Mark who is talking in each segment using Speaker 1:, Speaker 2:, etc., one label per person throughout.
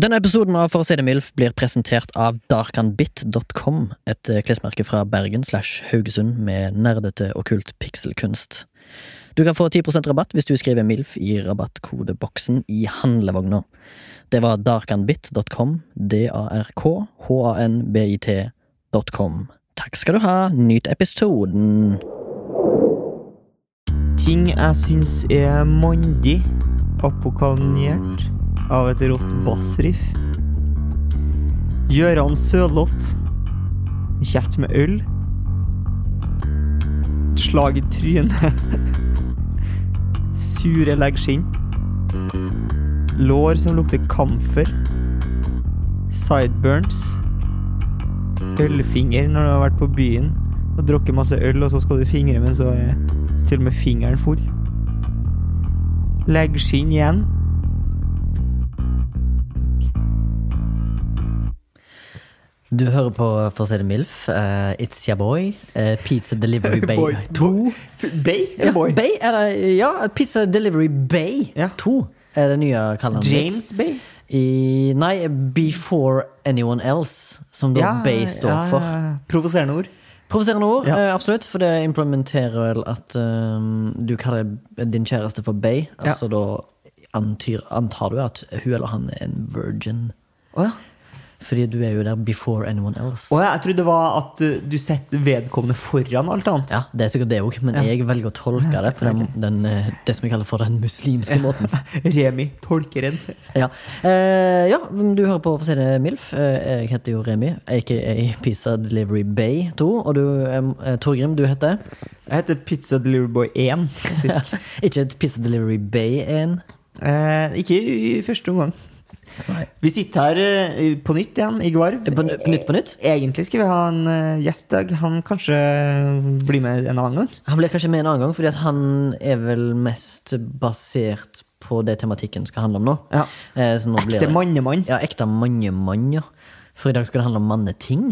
Speaker 1: Denne episoden av For å si det mildt blir presentert av darkanbit.com, et eh, klesmerke fra Bergen slash Haugesund med nerdete okkult pikselkunst. Du kan få 10 rabatt hvis du skriver MILF i rabattkodeboksen i handlevogna. Det var darkanbit.com, d-a-r-k-h-a-n-b-i-t.com. Takk skal du ha, nyt episoden!
Speaker 2: Ting jeg syns er mandig, apokalniert av et rått bassriff. Gjøran Sørloth. En Kjeft med øl. Et slag i trynet. Sure leggskinn. Lår som lukter kamfer. Sideburns. Ølfinger når du har vært på byen og drukket masse øl, og så skal du fingre, men så er til og med fingeren full. Leggskinn igjen.
Speaker 3: Du hører på For å si det MILF. eh, it's your boy. eh, pizza Delivery Bay
Speaker 2: Boy
Speaker 3: 2.
Speaker 2: Bay eller boy?
Speaker 3: Ja, Bay er det, ja, Pizza Delivery Bay
Speaker 2: Ja.
Speaker 3: 2 er det nye kallenavnet mitt.
Speaker 2: James Bay?
Speaker 3: I, nei, Before Anyone Else, som da Bay står
Speaker 2: ja, ja,
Speaker 3: for.
Speaker 2: ja. Provoserende ord.
Speaker 3: Provoserende ord,
Speaker 2: Ja.
Speaker 3: eh, absolutt. For det implementerer vel at eh, du kaller din kjæreste for Bay.
Speaker 2: Ja.
Speaker 3: Altså da antyr, antar du at hun eller han er en virgin.
Speaker 2: Å ja.
Speaker 3: Fordi du er jo der before anyone else.
Speaker 2: Jeg trodde det var at eh, du setter vedkommende foran alt annet.
Speaker 3: Ja, det er sikkert det òg, men jeg velger å tolke det på den, den, eh, det som jeg kaller for den muslimske måten.
Speaker 2: Remi, tolkeren.
Speaker 3: Ja, eh, ja men du hører på For å si det MILF. Eh, jeg heter jo Remi, aka Pizza Delivery Bay 2. Og du, eh, Torgrim, du heter?
Speaker 2: Jeg heter Pizza Delivery Boy 1, faktisk.
Speaker 3: Ikke et Pizza Delivery Bay 1.
Speaker 2: eh, ikke i i første omgang.
Speaker 3: Nei.
Speaker 2: Vi sitter her eh, på nytt igjen, i Gvarv.
Speaker 3: På, n- på nytt på nytt?
Speaker 2: Egentlig skulle vi ha en eh, gjest, Dag. Han kanskje eh, blir med en annen gang.
Speaker 3: Han blir kanskje med en annen gang, fordi at han er vel mest basert på det tematikken skal handle om nå.
Speaker 2: Ja.
Speaker 3: Eh, så nå blir
Speaker 2: Ekte
Speaker 3: det-
Speaker 2: mannemann.
Speaker 3: Ja, ekte mannemann, ja. For i dag skal det handle om manneting.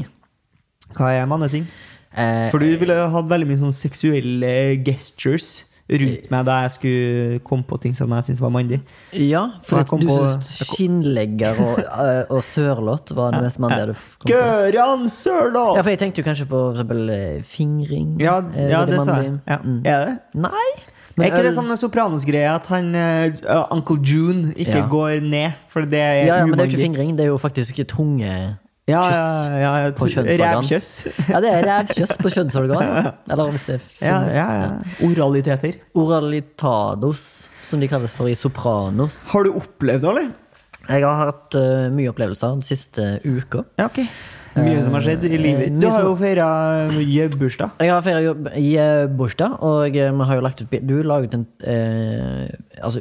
Speaker 2: Hva er manneting?
Speaker 3: Eh,
Speaker 2: For du ville hatt veldig mye sånn seksuelle gestures
Speaker 3: Eh.
Speaker 2: rundt meg da jeg skulle komme på ting som jeg syntes var mandig.
Speaker 3: Ja, for
Speaker 2: jeg
Speaker 3: at
Speaker 2: kom
Speaker 3: du
Speaker 2: på-
Speaker 3: syns skinnlegger og, eh, og sørlott var det mest mannlige du kom på.
Speaker 2: Gøran
Speaker 3: Ja,
Speaker 2: Sørloth!
Speaker 3: for jeg tenkte jo kanskje på for eksempel eh, fingring.
Speaker 2: Ja,
Speaker 3: eh, veldig
Speaker 2: ja,
Speaker 3: Mm.
Speaker 2: det sa jeg.
Speaker 3: mannlig.
Speaker 2: Ja. Er det?
Speaker 3: Nei! eh,
Speaker 2: Er ikke det
Speaker 3: øl-
Speaker 2: sånn Sopranos-greie at han, eh, Uncle June ikke
Speaker 3: Ja.
Speaker 2: går ned? For det er
Speaker 3: ja, ja, men det er jo ikke
Speaker 2: umandig.
Speaker 3: fingring, det er jo faktisk tunge
Speaker 2: Ja, ja, ja, ja,
Speaker 3: på
Speaker 2: tu-
Speaker 3: kjønnsorgan.
Speaker 2: Rævkjøss.
Speaker 3: Ja, det er rævkjøss på kjønnsorgan. Eller hvis det finnes.
Speaker 2: Ja, ja, ja. Oraliteter.
Speaker 3: Oralitados, som de kalles for i Sopranos.
Speaker 2: Har du opplevd noe, eller?
Speaker 3: Jeg har hatt eh, mye opplevelser den siste uka.
Speaker 2: Ja, ok. Mye som har skjedd i livet ditt. Du
Speaker 3: Eh, mye
Speaker 2: har
Speaker 3: som-
Speaker 2: jo feira bursdag.
Speaker 3: Jeg har feira jobb i eh, bursdag, og eh, vi har jo lagt ut bil- Du la ut en eh, Altså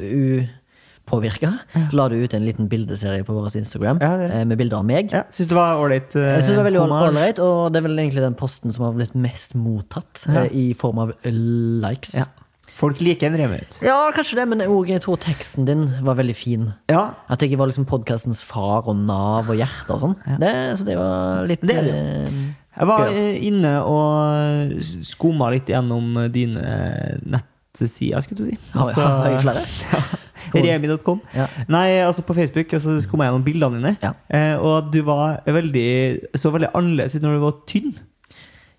Speaker 3: upåvirka. La du ut en liten bildeserie på vår Instagram
Speaker 2: Ja, det-
Speaker 3: eh, med bilder av meg.
Speaker 2: Ja, Syns det var ålreit? eh,
Speaker 3: Jeg synes det var veldig all- ålreit, og det er vel egentlig den posten som har blitt mest mottatt eh, i form av likes.
Speaker 2: Ja. Folk liker en remøt.
Speaker 3: Ja, kanskje det, men og jeg tror teksten din var veldig fin.
Speaker 2: Ja,
Speaker 3: At jeg var liksom podkastens far og Nav og hjerte og sånn. Det, så det var litt
Speaker 2: Det er det jo.
Speaker 3: eh,
Speaker 2: Jeg var eh, inne og skumma litt gjennom eh, dine eh, nettsider, skulle du si. Altså,
Speaker 3: Har, har jeg flere?
Speaker 2: Remi.com.
Speaker 3: Ja.
Speaker 2: Nei, altså på Facebook, og så skumma jeg gjennom bildene dine.
Speaker 3: Ja.
Speaker 2: Eh, og du var veldig, så veldig annerledes ut når du var tynn.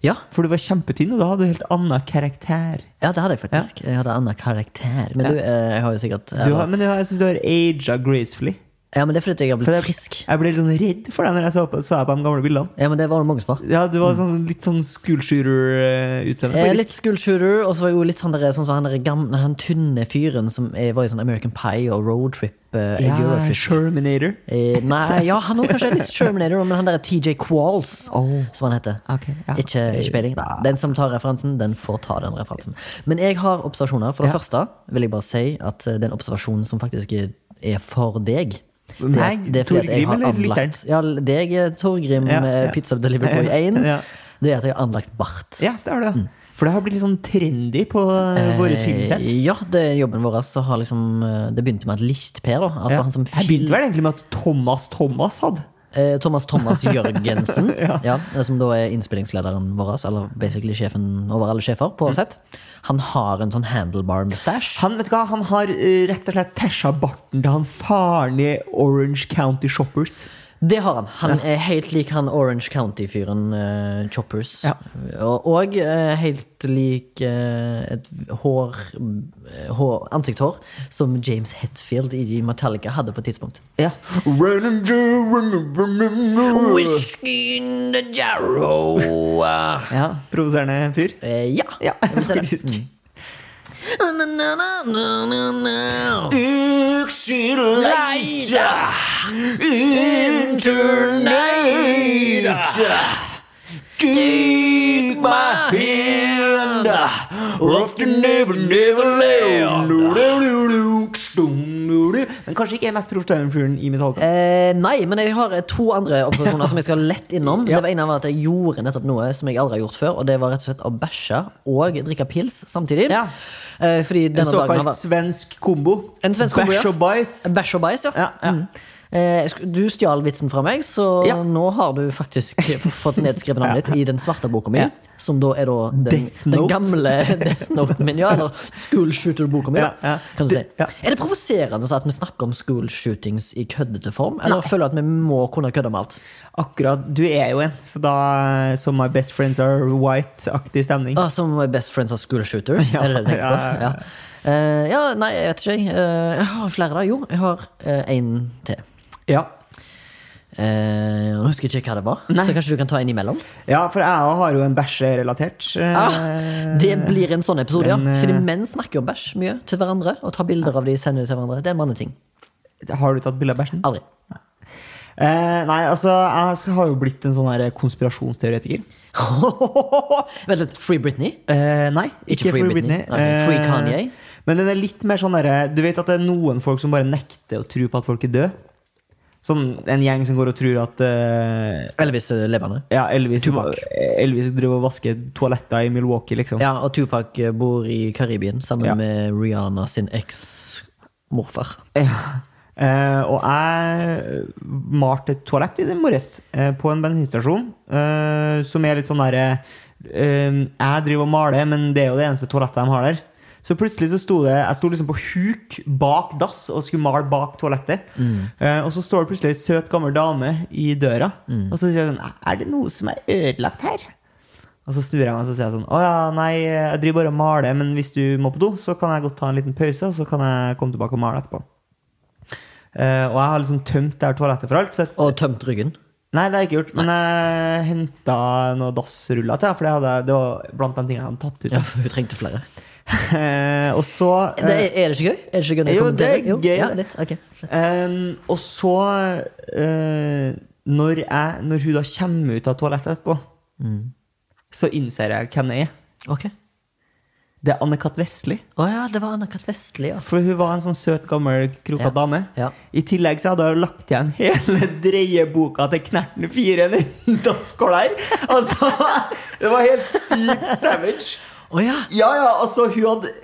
Speaker 3: Ja.
Speaker 2: For du var kjempetynn, og da hadde du helt annen karakter.
Speaker 3: Ja, det hadde jeg faktisk. Jeg hadde annen karakter. Men du, eh, jeg har jo sikkert
Speaker 2: Du har, men du har, jeg syns du har aga gracefully.
Speaker 3: Ja, men det er fordi jeg har blitt
Speaker 2: For det-
Speaker 3: frisk.
Speaker 2: Jeg ble litt sånn redd for deg når jeg så på, så jeg på de gamle bildene.
Speaker 3: Ja, men det var det mange som var.
Speaker 2: Ja, du var sånn, litt sånn schoolshooter-utseende.
Speaker 3: Eh, litt school shooter, og så var jeg jo litt sånn, der, sånn som han, der gamle, han tynne fyren som eh, var i sånn American Pie og roadtrip. Eh,
Speaker 2: ja,
Speaker 3: Eurotrip.
Speaker 2: Sherminator.
Speaker 3: Eh, nei, ja, han òg kanskje er litt Terminator, men han der er TJ Qualls,
Speaker 2: Oh.
Speaker 3: som han heter.
Speaker 2: Ok, ja.
Speaker 3: Ikke, ikke peiling. Den som tar referansen, den får ta den referansen. Men jeg har observasjoner. For det
Speaker 2: Ja.
Speaker 3: første vil jeg bare si at eh, den observasjonen som faktisk er- er for deg det,
Speaker 2: Nei,
Speaker 3: det er fordi at jeg har
Speaker 2: Torgrim eller
Speaker 3: anlagt ja, deg, eh, Torgrim,
Speaker 2: Ja,
Speaker 3: eh,
Speaker 2: ja.
Speaker 3: Pizza Delivery Boy 1.
Speaker 2: Ja.
Speaker 3: Det er at jeg har anlagt bart.
Speaker 2: Ja, det har du. ja. For det har blitt litt sånn trendy på Mm. eh, våre filmsett.
Speaker 3: Eh, Ja, det er jobben vår. Så har liksom, eh, det begynte med at Licht-Per, da. Altså
Speaker 2: Ja. sånn
Speaker 3: han som
Speaker 2: jeg begynte vel egentlig med at Thomas Thomas hadde.
Speaker 3: Eh, Thomas Thomas Jørgensen,
Speaker 2: Ja.
Speaker 3: ja. eh, som da er innspillingslederen vår, altså, eller basically sjefen over alle sjefer,
Speaker 2: Mm.
Speaker 3: på sett, han har en sånn handlebar-mustache.
Speaker 2: Han, vet du hva, han har eh, rett og slett tæsja barten til han faren i Orange County Shoppers.
Speaker 3: Det har han. Han er helt lik han Orange County-fyren eh, Choppers.
Speaker 2: Ja.
Speaker 3: Og, og eh, helt lik eh, et hår, eh, hår ansiktshår som James Hetfield i Metallica hadde på et tidspunkt.
Speaker 2: Ja.
Speaker 3: Whiskey in the jarrow.
Speaker 2: ja provoserende fyr.
Speaker 3: Eh, ja.
Speaker 2: Ja,
Speaker 3: Jeg
Speaker 2: Mm.
Speaker 3: vil se det.
Speaker 2: faktisk.
Speaker 3: Na, na, na, na, na, na.
Speaker 2: Unnskyld, Take my hand off the never, never Men kanskje ikke mest provoserende fyren i mitt hode.
Speaker 3: Eh, nei, men jeg har eh, to andre observasjoner som jeg skal lett innom.
Speaker 2: Ja.
Speaker 3: Det var ene var at Jeg gjorde nettopp noe som jeg aldri har gjort før, og det var rett og slett å bæsje og drikke pils samtidig.
Speaker 2: Ja.
Speaker 3: Eh, fordi
Speaker 2: En
Speaker 3: denne dagen har
Speaker 2: såkalt
Speaker 3: vært
Speaker 2: svensk kombo.
Speaker 3: En svensk kombo, ja.
Speaker 2: Bæsj og bæsj.
Speaker 3: Bæsj og bæsj, ja.
Speaker 2: Ja, ja.
Speaker 3: Mm. Eh, sk- Du stjal vitsen fra meg, så
Speaker 2: Ja.
Speaker 3: nå har du faktisk fått nedskrevet navnet ditt i den svarte boka mi.
Speaker 2: Ja.
Speaker 3: Som da er da den,
Speaker 2: Death
Speaker 3: den
Speaker 2: Note.
Speaker 3: gamle Death Noten min, ja. Eller School Shooter-boka mi, da,
Speaker 2: Ja, ja.
Speaker 3: kan du si.
Speaker 2: Det- ja.
Speaker 3: Er det provoserende så at vi snakker om school shootings i køddete form? Eller føler du at vi må kunne kødde med alt?
Speaker 2: Akkurat. Du er jo en, så da så my best friends are white-aktig stemning.
Speaker 3: Ah, som My Best Friends of School Shooters? er det det du tenker
Speaker 2: Mm. Ja, ja,
Speaker 3: på? Ja. Eh, ja, nei, jeg vet ikke. jeg. Eh, jeg har flere, da. Jo, jeg har én til.
Speaker 2: Ja.
Speaker 3: Eh, nå husker jeg ikke hva det var,
Speaker 2: Nei.
Speaker 3: så kanskje du kan ta en imellom?
Speaker 2: ja, for jeg òg har jo en bæsjerelatert. eh,
Speaker 3: Ah, det blir en sånn episode, ja.
Speaker 2: men, eh,
Speaker 3: Fordi menn snakker jo om bæsj mye til hverandre. Og tar bilder av de sender det til hverandre. Det er en manneting.
Speaker 2: Har du tatt bilde av bæsjen?
Speaker 3: Aldri.
Speaker 2: Eh, nei, altså, jeg har jo blitt en sånn her konspirasjonsteoretiker.
Speaker 3: Vent litt. Free Britney?
Speaker 2: Eh, nei, ikke, Free Britney.
Speaker 3: Nei, Free Kanye.
Speaker 2: Eh, men den er litt mer sånn derre Du vet at det er noen folk som bare nekter å tro på at folk er døde? Sånn en gjeng som går og tror at eh,
Speaker 3: Elvis eh, levende.
Speaker 2: ja, Elvis,
Speaker 3: Tupac.
Speaker 2: Elvis driver og vasker toaletter i Milwaukee, liksom.
Speaker 3: Ja, og Tupac eh, bor i Karibien sammen
Speaker 2: Ja.
Speaker 3: med Rihanna sin eks-morfar.
Speaker 2: Ja. Eh, og jeg malte et toalett i det morges eh, på en bensinstasjon. eh, som er litt sånn derre Jeg driver og maler, men det er jo det eneste toalettet de har der. Så plutselig så sto det Jeg sto liksom på huk bak dass og skulle male bak toalettet. Eh, og så står det plutselig ei søt, gammel dame i døra. Og så sier hun Er det noe som er ødelagt her? Og så snur jeg meg og så sier jeg sånn Å ja, nei, jeg driver bare og maler, men hvis du må på do, så kan jeg godt ta en liten pause, og så kan jeg komme tilbake og male etterpå. Eh, og jeg har liksom tømt det her toalettet for alt. Så jeg,
Speaker 3: Og tømt ryggen.
Speaker 2: nei, det har jeg ikke gjort. Men jeg henta noen dassruller til, for det, hadde, jeg- det var blant de tingene jeg hadde tatt ut.
Speaker 3: Ja, hun trengte flere.
Speaker 2: Eh, og så eh,
Speaker 3: Det, er, er det ikke gøy? Er det ikke gøy når jeg
Speaker 2: Jo,
Speaker 3: kommenterer?
Speaker 2: det er gøy.
Speaker 3: Ja, litt. ok.
Speaker 2: Ehm, og så eh, når, jeg, når hun da kommer ut av toalettet etterpå, så innser jeg hvem det er.
Speaker 3: Ok.
Speaker 2: Det er Anne-Kat. Vestli.
Speaker 3: Å ja, det var Anna-Kat. Vestli, ja.
Speaker 2: For hun var en sånn søt, gammel, kroka
Speaker 3: Ja.
Speaker 2: dame.
Speaker 3: Ja.
Speaker 2: I tillegg så hadde hun lagt igjen hele dreieboka til Knerten 4 i en dasskål her. Altså, det var helt sykt savage.
Speaker 3: Å ja!
Speaker 2: Ja, ja, altså, hun hadde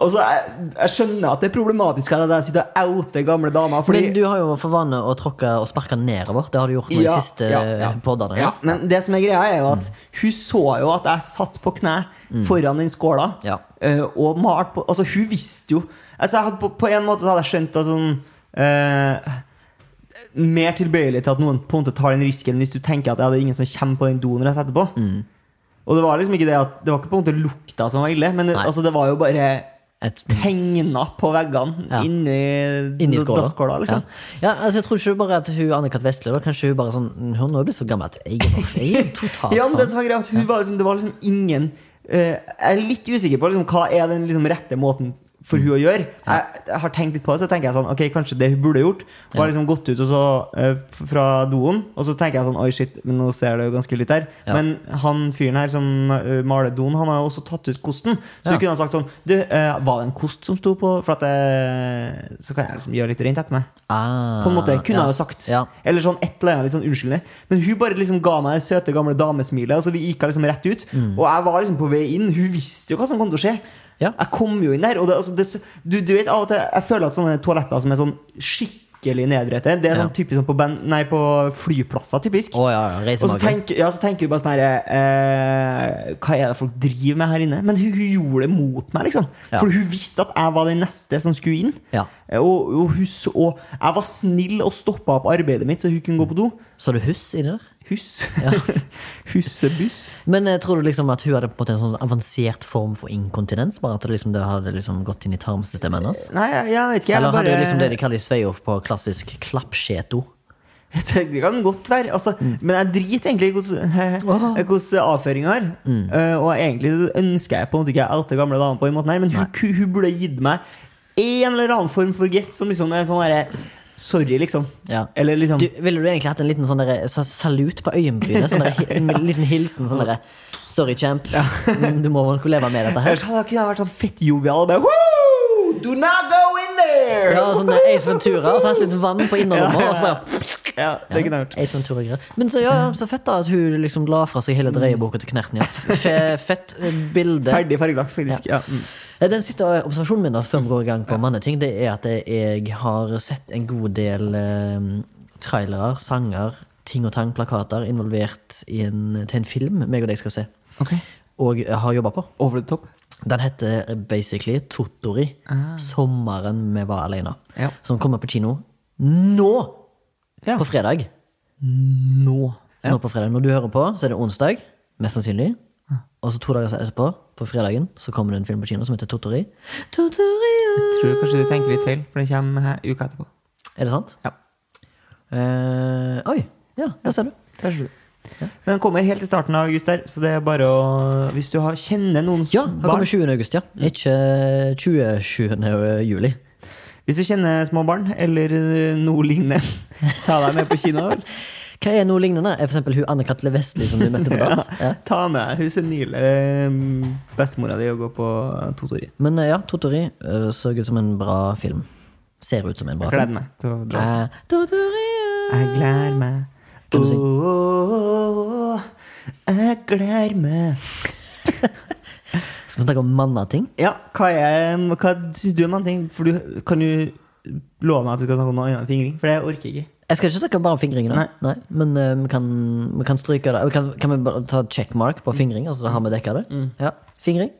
Speaker 2: Altså, jeg, jeg skjønner at det er problematisk at jeg sitter og outer gamle damer, fordi
Speaker 3: Men du har jo for vane å tråkke og sparke nedover. Det har du gjort med de siste eh, poddene.
Speaker 2: Ja, men det som er greia, er jo at
Speaker 3: Mm.
Speaker 2: hun så jo at jeg satt på kne foran den skåla
Speaker 3: Ja.
Speaker 2: eh, og malte på Altså, hun visste jo Altså, jeg hadde på, på en måte så hadde jeg skjønt at sånn eh, Mer tilbøyelig til at noen på en måte tar den risken hvis du tenker at ja, det er ingen som kommer på den doen rett etterpå.
Speaker 3: Mm.
Speaker 2: Og det var liksom ikke det at Det var ikke på en måte lukta som var ille, men det,
Speaker 3: Nei.
Speaker 2: altså, det var jo bare
Speaker 3: Et
Speaker 2: tegna på veggene
Speaker 3: Ja.
Speaker 2: inni,
Speaker 3: Inni skåla.
Speaker 2: dasskåla, liksom.
Speaker 3: Ja. ja, altså Jeg tror ikke bare at hun Anne-Kat. Vestli da, Kanskje hun bare sånn Hun nå er blitt så gammel at jeg er jeg er totalt
Speaker 2: Ja, men det
Speaker 3: fan.
Speaker 2: som var greia, at hun var liksom, det var liksom ingen eh, Jeg er litt usikker på liksom, hva er den liksom, rette måten for hun å gjøre. Jeg, jeg har tenkt litt på det, så tenker jeg sånn Ok, kanskje det hun burde gjort, var liksom gått ut og så, eh, f- fra doen, og så tenker jeg sånn Oi, shit, men nå ser det jo ganske litt her.
Speaker 3: Ja.
Speaker 2: Men han fyren her som eh, maler doen, han har jo også tatt ut kosten.
Speaker 3: Ja.
Speaker 2: Så hun kunne ha sagt sånn Du, eh, var det en kost som sto på? For at eh, Så kan jeg liksom gjøre litt rent etter meg.
Speaker 3: ah,
Speaker 2: På en måte, kunne
Speaker 3: ja.
Speaker 2: jeg jo sagt.
Speaker 3: Ja.
Speaker 2: Eller sånn et eller annet litt sånn unnskyldende. Men hun bare liksom ga meg det søte, gamle damesmilet, og så gikk jeg liksom rett ut. Og jeg var liksom på vei inn. Hun visste jo hva som kom til å skje.
Speaker 3: Mm. Ja.
Speaker 2: Jeg kom jo inn der. Og det, altså, det, du, du vet av og til Jeg føler at sånne toaletter som er sånn skikkelig skikkelig nedrette. Det er
Speaker 3: Ja.
Speaker 2: sånn typisk sånn på, band, nei, på flyplasser, typisk.
Speaker 3: Å ja, ja.
Speaker 2: Og så
Speaker 3: Reisemagen.
Speaker 2: tenker, ja, så tenker du bare sånn her eh, Hva er det folk driver med her inne? Men hun, hun gjorde det mot meg, liksom.
Speaker 3: Ja.
Speaker 2: For hun visste at jeg var den neste som skulle inn.
Speaker 3: Ja.
Speaker 2: Eh, Og, og, hun, så- og jeg var snill og stoppa opp arbeidet mitt, så hun kunne gå på do.
Speaker 3: Så du huss i det der?
Speaker 2: Hus. Hussebuss.
Speaker 3: Men eh, tror du liksom at hun hadde på en måte en sånn avansert form for inkontinens? Bare at det liksom, det hadde liksom gått inn i tarmsystemet hennes?
Speaker 2: Nei, jeg, jeg vet ikke. Jeg
Speaker 3: Eller hadde
Speaker 2: bare,
Speaker 3: hun liksom det de kaller sveioff på klassisk klappskjeto?
Speaker 2: Det kan godt være. Altså,
Speaker 3: Mm.
Speaker 2: Men jeg driter egentlig i hvordan hvordan avføringa er.
Speaker 3: Mm.
Speaker 2: Eh, og egentlig så ønsker jeg på en måte ikke jeg outer gamle damer på den måten her, men hun, ku- hun burde gitt meg en eller annen form for gest som liksom er sånn derre Sorry, liksom.
Speaker 3: Ja.
Speaker 2: Eller liksom
Speaker 3: Du, ville du egentlig hatt en liten sånn derre sa- salut på øyenbrynet? Sånn derre hi- en liten hilsen sånn derre Sorry, champ. Mm, Du må nok leve med dette her.
Speaker 2: Ellers hadde jeg kunne vært sånn fett jovial og bare Woo! Do not go in there!
Speaker 3: Ja, sånn der Ace Ventura, og så hatt litt vann på innerlommet, og så bare
Speaker 2: Ja, det kunne jeg gjort.
Speaker 3: Ace Ventura greier. Men så, ja, ja, så fett da at hun liksom la fra seg hele dreieboka til knerten. Ja. Fe- Fett eh, bilde.
Speaker 2: Ferdig fargelagt, faktisk. Ja. mm.
Speaker 3: Eh, Den siste eh, observasjonen min da, før vi går i gang på manneting, det er at eh, jeg har sett en god del eh, trailere, sanger, ting og tang, plakater involvert i en, til en film meg og deg skal se, og eh, har jobba på.
Speaker 2: Over the top.
Speaker 3: Den heter basically Totori. Sommeren vi var alene.
Speaker 2: Ah. Ja.
Speaker 3: Som kommer på kino nå!
Speaker 2: Ja.
Speaker 3: På fredag.
Speaker 2: Nå. Ja.
Speaker 3: Nå på fredag. Når du hører på, så er det onsdag, mest sannsynlig.
Speaker 2: Ah.
Speaker 3: Og så to dager etterpå, på fredagen, så kommer det en film på kino som heter Totori. Totori
Speaker 2: Tror du kanskje du tenker litt feil, for den kommer her uka etterpå.
Speaker 3: Er det sant?
Speaker 2: Ja.
Speaker 3: Eh, oi. Ja, der ser du.
Speaker 2: Der ser du. Men den kommer helt i starten av august der, så det er bare å Hvis du har, kjenner noen s-
Speaker 3: Ja, her
Speaker 2: barn
Speaker 3: kommer 20. august, ja.
Speaker 2: Mm.
Speaker 3: Ikke 27. juli.
Speaker 2: Hvis du kjenner små barn, eller øh, noe lignende, ta deg med på kino. vel?
Speaker 3: Hva er noe lignende? Er for eksempel hun Anne-Katle Vestli som du møtte på dass? Ja.
Speaker 2: Ta med deg hun senile øh, bestemora di og gå på Totori.
Speaker 3: Men eh, ja, Totori eh, så ut som en bra film. Ser ut som en bra
Speaker 2: Gleder
Speaker 3: film.
Speaker 2: meg til å dra.
Speaker 3: Eh, Totori eh.
Speaker 2: Jeg gleder meg.
Speaker 3: Kan du synge?
Speaker 2: Åh, jeg gleder meg.
Speaker 3: Skal vi snakke om mannating?
Speaker 2: Ja, hva, er, hva synes du om den ting? For du kan jo love meg at du skal snakke om noe annet enn fingring, for det orker jeg ikke.
Speaker 3: Jeg skal ikke snakke bare om fingringen. da.
Speaker 2: Nei.
Speaker 3: Nei. Men eh, vi, kan, vi kan stryke det. Vi Kan, kan vi bare ta checkmark på fingring? Altså, da har vi dekka det.
Speaker 2: Mm.
Speaker 3: Ja. Fingring.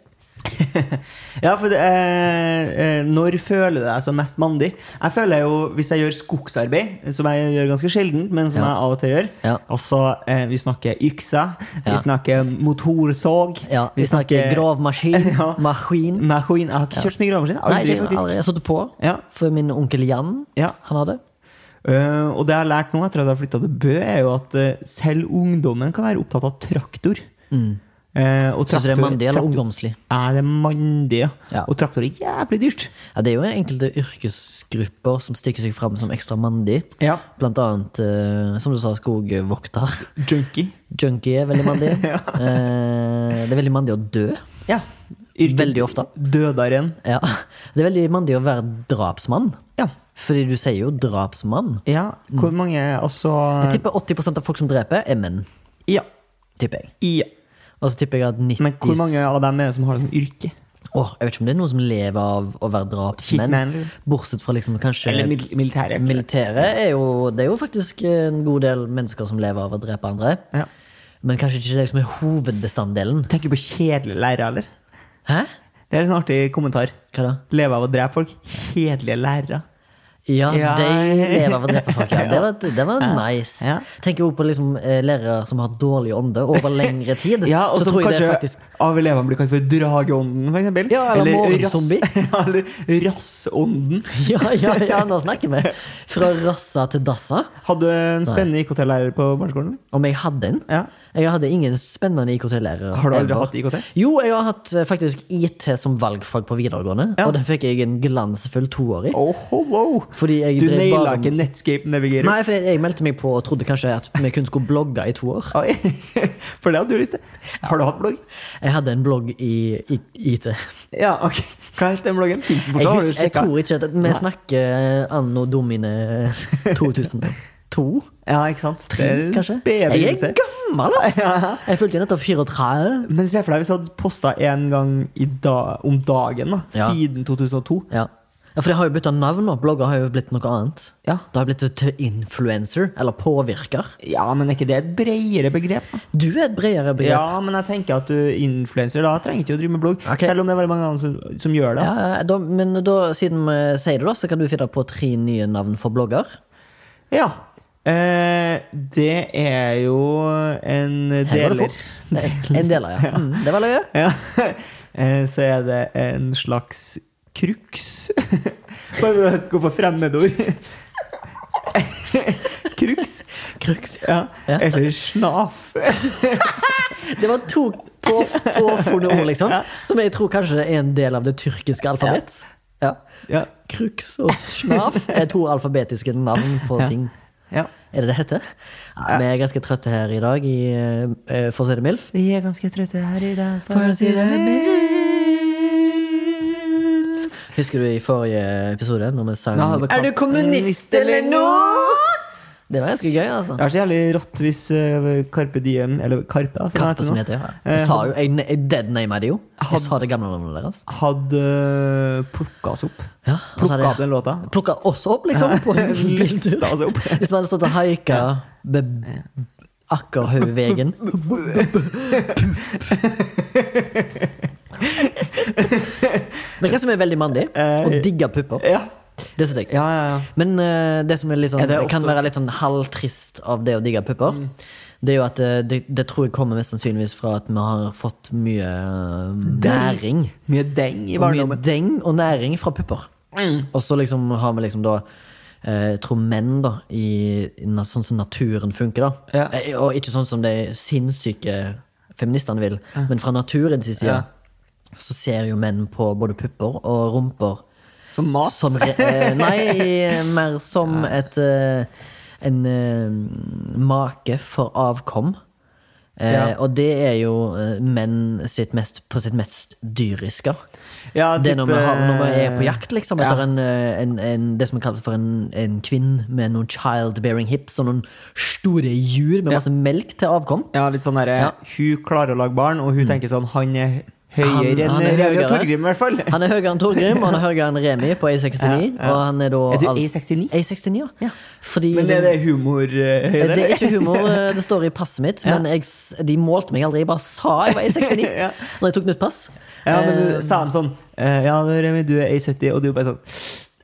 Speaker 2: Ja, for det, eh, eh, Når føler du deg som mest mandig? Jeg føler jo, Hvis jeg gjør skogsarbeid, som jeg gjør ganske sjelden, men som
Speaker 3: Ja.
Speaker 2: jeg av og til gjør
Speaker 3: Ja.
Speaker 2: Altså, eh, Vi snakker ykser, vi
Speaker 3: Ja.
Speaker 2: snakker motorsåg
Speaker 3: Ja, vi, snakker, gravmaskin.
Speaker 2: Ja.
Speaker 3: Maskin.
Speaker 2: maskin. Jeg har ikke kjørt så mye gravemaskin.
Speaker 3: Nei,
Speaker 2: Aldri,
Speaker 3: ikke,
Speaker 2: faktisk.
Speaker 3: aldri. Jeg satte på
Speaker 2: Ja.
Speaker 3: for min onkel Jan.
Speaker 2: Ja.
Speaker 3: Han hadde.
Speaker 2: Eh, og det jeg har lært nå etter at jeg har flytta til Bø, er jo at eh, selv ungdommen kan være opptatt av traktor. Eh, og
Speaker 3: Syns Mm. du det er
Speaker 2: traktor-
Speaker 3: mandig eller
Speaker 2: traktor-
Speaker 3: ungdomslig?
Speaker 2: Ja, det er mandig, ja.
Speaker 3: Ja.
Speaker 2: Og traktor er jævlig dyrt.
Speaker 3: Ja, det er jo enkelte yrkesgrupper som stikker seg fram som ekstra mandig.
Speaker 2: Ja.
Speaker 3: Blant annet, eh, som du sa, skogvokter.
Speaker 2: Junkie.
Speaker 3: Junkie er veldig mandig. eh, det er veldig mandig å dø.
Speaker 2: Ja. Yrke-
Speaker 3: Veldig ofte.
Speaker 2: Dødaren.
Speaker 3: Ja. Det er veldig mandig å være drapsmann.
Speaker 2: Ja.
Speaker 3: Fordi du sier jo drapsmann.
Speaker 2: ja. Hvor mange Altså
Speaker 3: Mm. Jeg tipper 80 av folk som dreper, er menn.
Speaker 2: ja.
Speaker 3: Tipper jeg.
Speaker 2: ja.
Speaker 3: Og så tipper jeg at 90
Speaker 2: Men hvor mange av dem er det som har det som yrke?
Speaker 3: Åh, Jeg vet ikke om det er noen som lever av å være drapsmenn.
Speaker 2: Hitman, eller?
Speaker 3: Bortsett fra liksom kanskje
Speaker 2: Eller mil militæret?
Speaker 3: Militæret er jo Det er jo faktisk en god del mennesker som lever av å drepe andre.
Speaker 2: ja.
Speaker 3: Men kanskje ikke det som er hovedbestanddelen.
Speaker 2: Tenker du på kjedelige lærere, eller?
Speaker 3: Hæ?
Speaker 2: Det er en sånn artig kommentar.
Speaker 3: Hva da?
Speaker 2: Leve av å drepe folk. Kjedelige lærere.
Speaker 3: Ja,
Speaker 2: Ja.
Speaker 3: de lever av å drepe folk. Ja. Det var, det var nice.
Speaker 2: Ja.
Speaker 3: Tenker også på liksom, eh, lærere som har dårlig ånde over lengre tid.
Speaker 2: Ja, og
Speaker 3: så
Speaker 2: som
Speaker 3: tror jeg
Speaker 2: kanskje
Speaker 3: det faktisk
Speaker 2: av elevene blir kalt for drageånden, for eksempel.
Speaker 3: Ja, eller
Speaker 2: rass-
Speaker 3: morgenzombie.
Speaker 2: Ja, eller rassånden.
Speaker 3: Ja, ja, ja, nå snakker vi! Fra rassa til dassa.
Speaker 2: Hadde du en spennende IKT-lærer på barneskolen?
Speaker 3: Om jeg hadde en?
Speaker 2: Ja.
Speaker 3: Jeg hadde ingen spennende IKT-lærere.
Speaker 2: Har du aldri
Speaker 3: ever.
Speaker 2: hatt IKT?
Speaker 3: Jo, jeg har hatt eh, faktisk IT som valgfag på videregående.
Speaker 2: Ja.
Speaker 3: Og den fikk jeg en glansfull toer i.
Speaker 2: Oh, wow.
Speaker 3: Fordi jeg
Speaker 2: Du
Speaker 3: drev
Speaker 2: naila
Speaker 3: bare
Speaker 2: ikke Netscape Navigator.
Speaker 3: Nei, for jeg, jeg meldte meg på og trodde kanskje at vi kun skulle blogge i to år.
Speaker 2: Oi. For det hadde du lyst til. Har du hatt blogg?
Speaker 3: Jeg hadde en blogg i, i IT.
Speaker 2: Ja, ok. Hva het den bloggen?
Speaker 3: Jeg,
Speaker 2: Tingsportal, har du
Speaker 3: husker, jeg
Speaker 2: sjekka?
Speaker 3: tror ikke at vi snakker anno domine 2002.
Speaker 2: Ja, ikke sant? Det er en
Speaker 3: Kanskje?
Speaker 2: sped
Speaker 3: Jeg er
Speaker 2: begynnelse.
Speaker 3: gammel, ass! Jeg fulgte jo nettopp 34.
Speaker 2: Men se for deg hvis du hadde posta en gang i dag, om dagen da,
Speaker 3: Ja.
Speaker 2: siden 2002.
Speaker 3: Ja. Ja, For det har jo bytta navn nå. Blogger har jo blitt noe annet.
Speaker 2: Ja.
Speaker 3: Det har blitt til influencer, eller påvirker.
Speaker 2: ja, men er ikke det et bredere begrep? da?
Speaker 3: Du er et bredere begrep.
Speaker 2: Ja, men jeg tenker at du influenser da trenger ikke å drive med blogg.
Speaker 3: Ok.
Speaker 2: Selv om det er veldig mange andre som, som gjør det.
Speaker 3: Ja, ja, da, men da, siden vi sier det, da, så kan du finne på tre nye navn for blogger.
Speaker 2: Ja. Eh, det er jo en
Speaker 3: Her går det
Speaker 2: deler.
Speaker 3: fort. Nei, En deler, ja. Mm, det var løye.
Speaker 2: Ja. Eh, Så er det en slags crux. Bare gå for fremmedord. Crux.
Speaker 3: Krux.
Speaker 2: Ja.
Speaker 3: Ja.
Speaker 2: Eller snaf.
Speaker 3: Det var to på, påfunne ord, liksom.
Speaker 2: Ja.
Speaker 3: Som jeg tror kanskje er en del av det tyrkiske alfabet. Ja.
Speaker 2: Ja.
Speaker 3: Krux og snaf er to alfabetiske navn på ting.
Speaker 2: ja.
Speaker 3: Er det det heter? Ja, vi er ganske trøtte her i dag, i, eh, for å si det mildt.
Speaker 2: Vi er ganske trøtte her i dag,
Speaker 3: For å si det
Speaker 2: mildt.
Speaker 3: Husker du i forrige episode, når vi sang
Speaker 2: Nå hadde det
Speaker 3: Er du
Speaker 2: kalt-
Speaker 3: kommunist eller noe?! Det var ganske gøy, altså.
Speaker 2: Det er så jævlig rått hvis eh, Carpe Diem Eller Karpe, altså. hva
Speaker 3: Karpe som
Speaker 2: nå?
Speaker 3: heter det.
Speaker 2: Eh,
Speaker 3: Jeg sa jo, jeg, jeg deadnama det jo. Jeg
Speaker 2: Hadde-
Speaker 3: sa det gamle navnet deres.
Speaker 2: Hadde plukka oss opp.
Speaker 3: Ja, og så hadde
Speaker 2: Plukka opp
Speaker 3: jeg-
Speaker 2: den låta.
Speaker 3: Plukka oss opp, liksom, på en biltur.
Speaker 2: Lista oss opp.
Speaker 3: Hvis vi hadde stått og haika ved Akkerhaugvegen. Det kan som er veldig mandig. Å digge pupper.
Speaker 2: Ja,
Speaker 3: Det synes jeg.
Speaker 2: Eh, ja, ja. ja.
Speaker 3: Men eh, det som er litt sånn,
Speaker 2: Er det
Speaker 3: kan
Speaker 2: også- Mm.
Speaker 3: være litt sånn halvtrist av det å digge pupper, det er jo at eh, det, det tror jeg kommer mest sannsynligvis fra at vi har fått mye eh, næring.
Speaker 2: Mye deng i
Speaker 3: Og mye
Speaker 2: barndommen. Mm.
Speaker 3: deng og næring fra pupper. Og så liksom har vi liksom da eh, jeg tror menn, da, i, i na- sånn som naturen funker, da.
Speaker 2: Ja.
Speaker 3: Eh, Og ikke sånn som de sinnssyke feministene vil, men fra naturens side
Speaker 2: Ja.
Speaker 3: så ser jo menn på både pupper og rumper
Speaker 2: Som mat.
Speaker 3: som re eh, Nei, eh, mer som et eh, En eh, make for avkom. Eh,
Speaker 2: Ja.
Speaker 3: Og det er jo eh, menn sitt mest, på sitt mest dyriske.
Speaker 2: Ja,
Speaker 3: Det er når vi,
Speaker 2: type-
Speaker 3: har, når vi er på jakt liksom,
Speaker 2: Ja.
Speaker 3: etter en, eh, en, en, det som kalles for en, en kvinn med noen childbearing hips og noen store jur med masse melk til avkom.
Speaker 2: Ja, litt sånn derre
Speaker 3: Ja. Mm.
Speaker 2: Hun klarer å lage barn, og hun tenker sånn Han er høyere
Speaker 3: Han- han
Speaker 2: enn
Speaker 3: er
Speaker 2: Remi
Speaker 3: høyere.
Speaker 2: og Torgrim, i hvert fall.
Speaker 3: Han er høyere enn Torgrim, og han er høyere enn Remi på A69.
Speaker 2: Ja, ja.
Speaker 3: Og han er da
Speaker 2: Er du
Speaker 3: alt-
Speaker 2: A69?
Speaker 3: A69, ja.
Speaker 2: Ja.
Speaker 3: Fordi
Speaker 2: Men er det eh, humorhøyde?
Speaker 3: Det er ikke humor, eh, det står i passet mitt. Men jeg, s- de målte meg aldri. Jeg bare sa jeg var A69
Speaker 2: Ja.
Speaker 3: når jeg tok nytt pass.
Speaker 2: Ja, men
Speaker 3: Eh,
Speaker 2: du sa de sånn eh, Ja, Remi, du er A70, og du bare sånn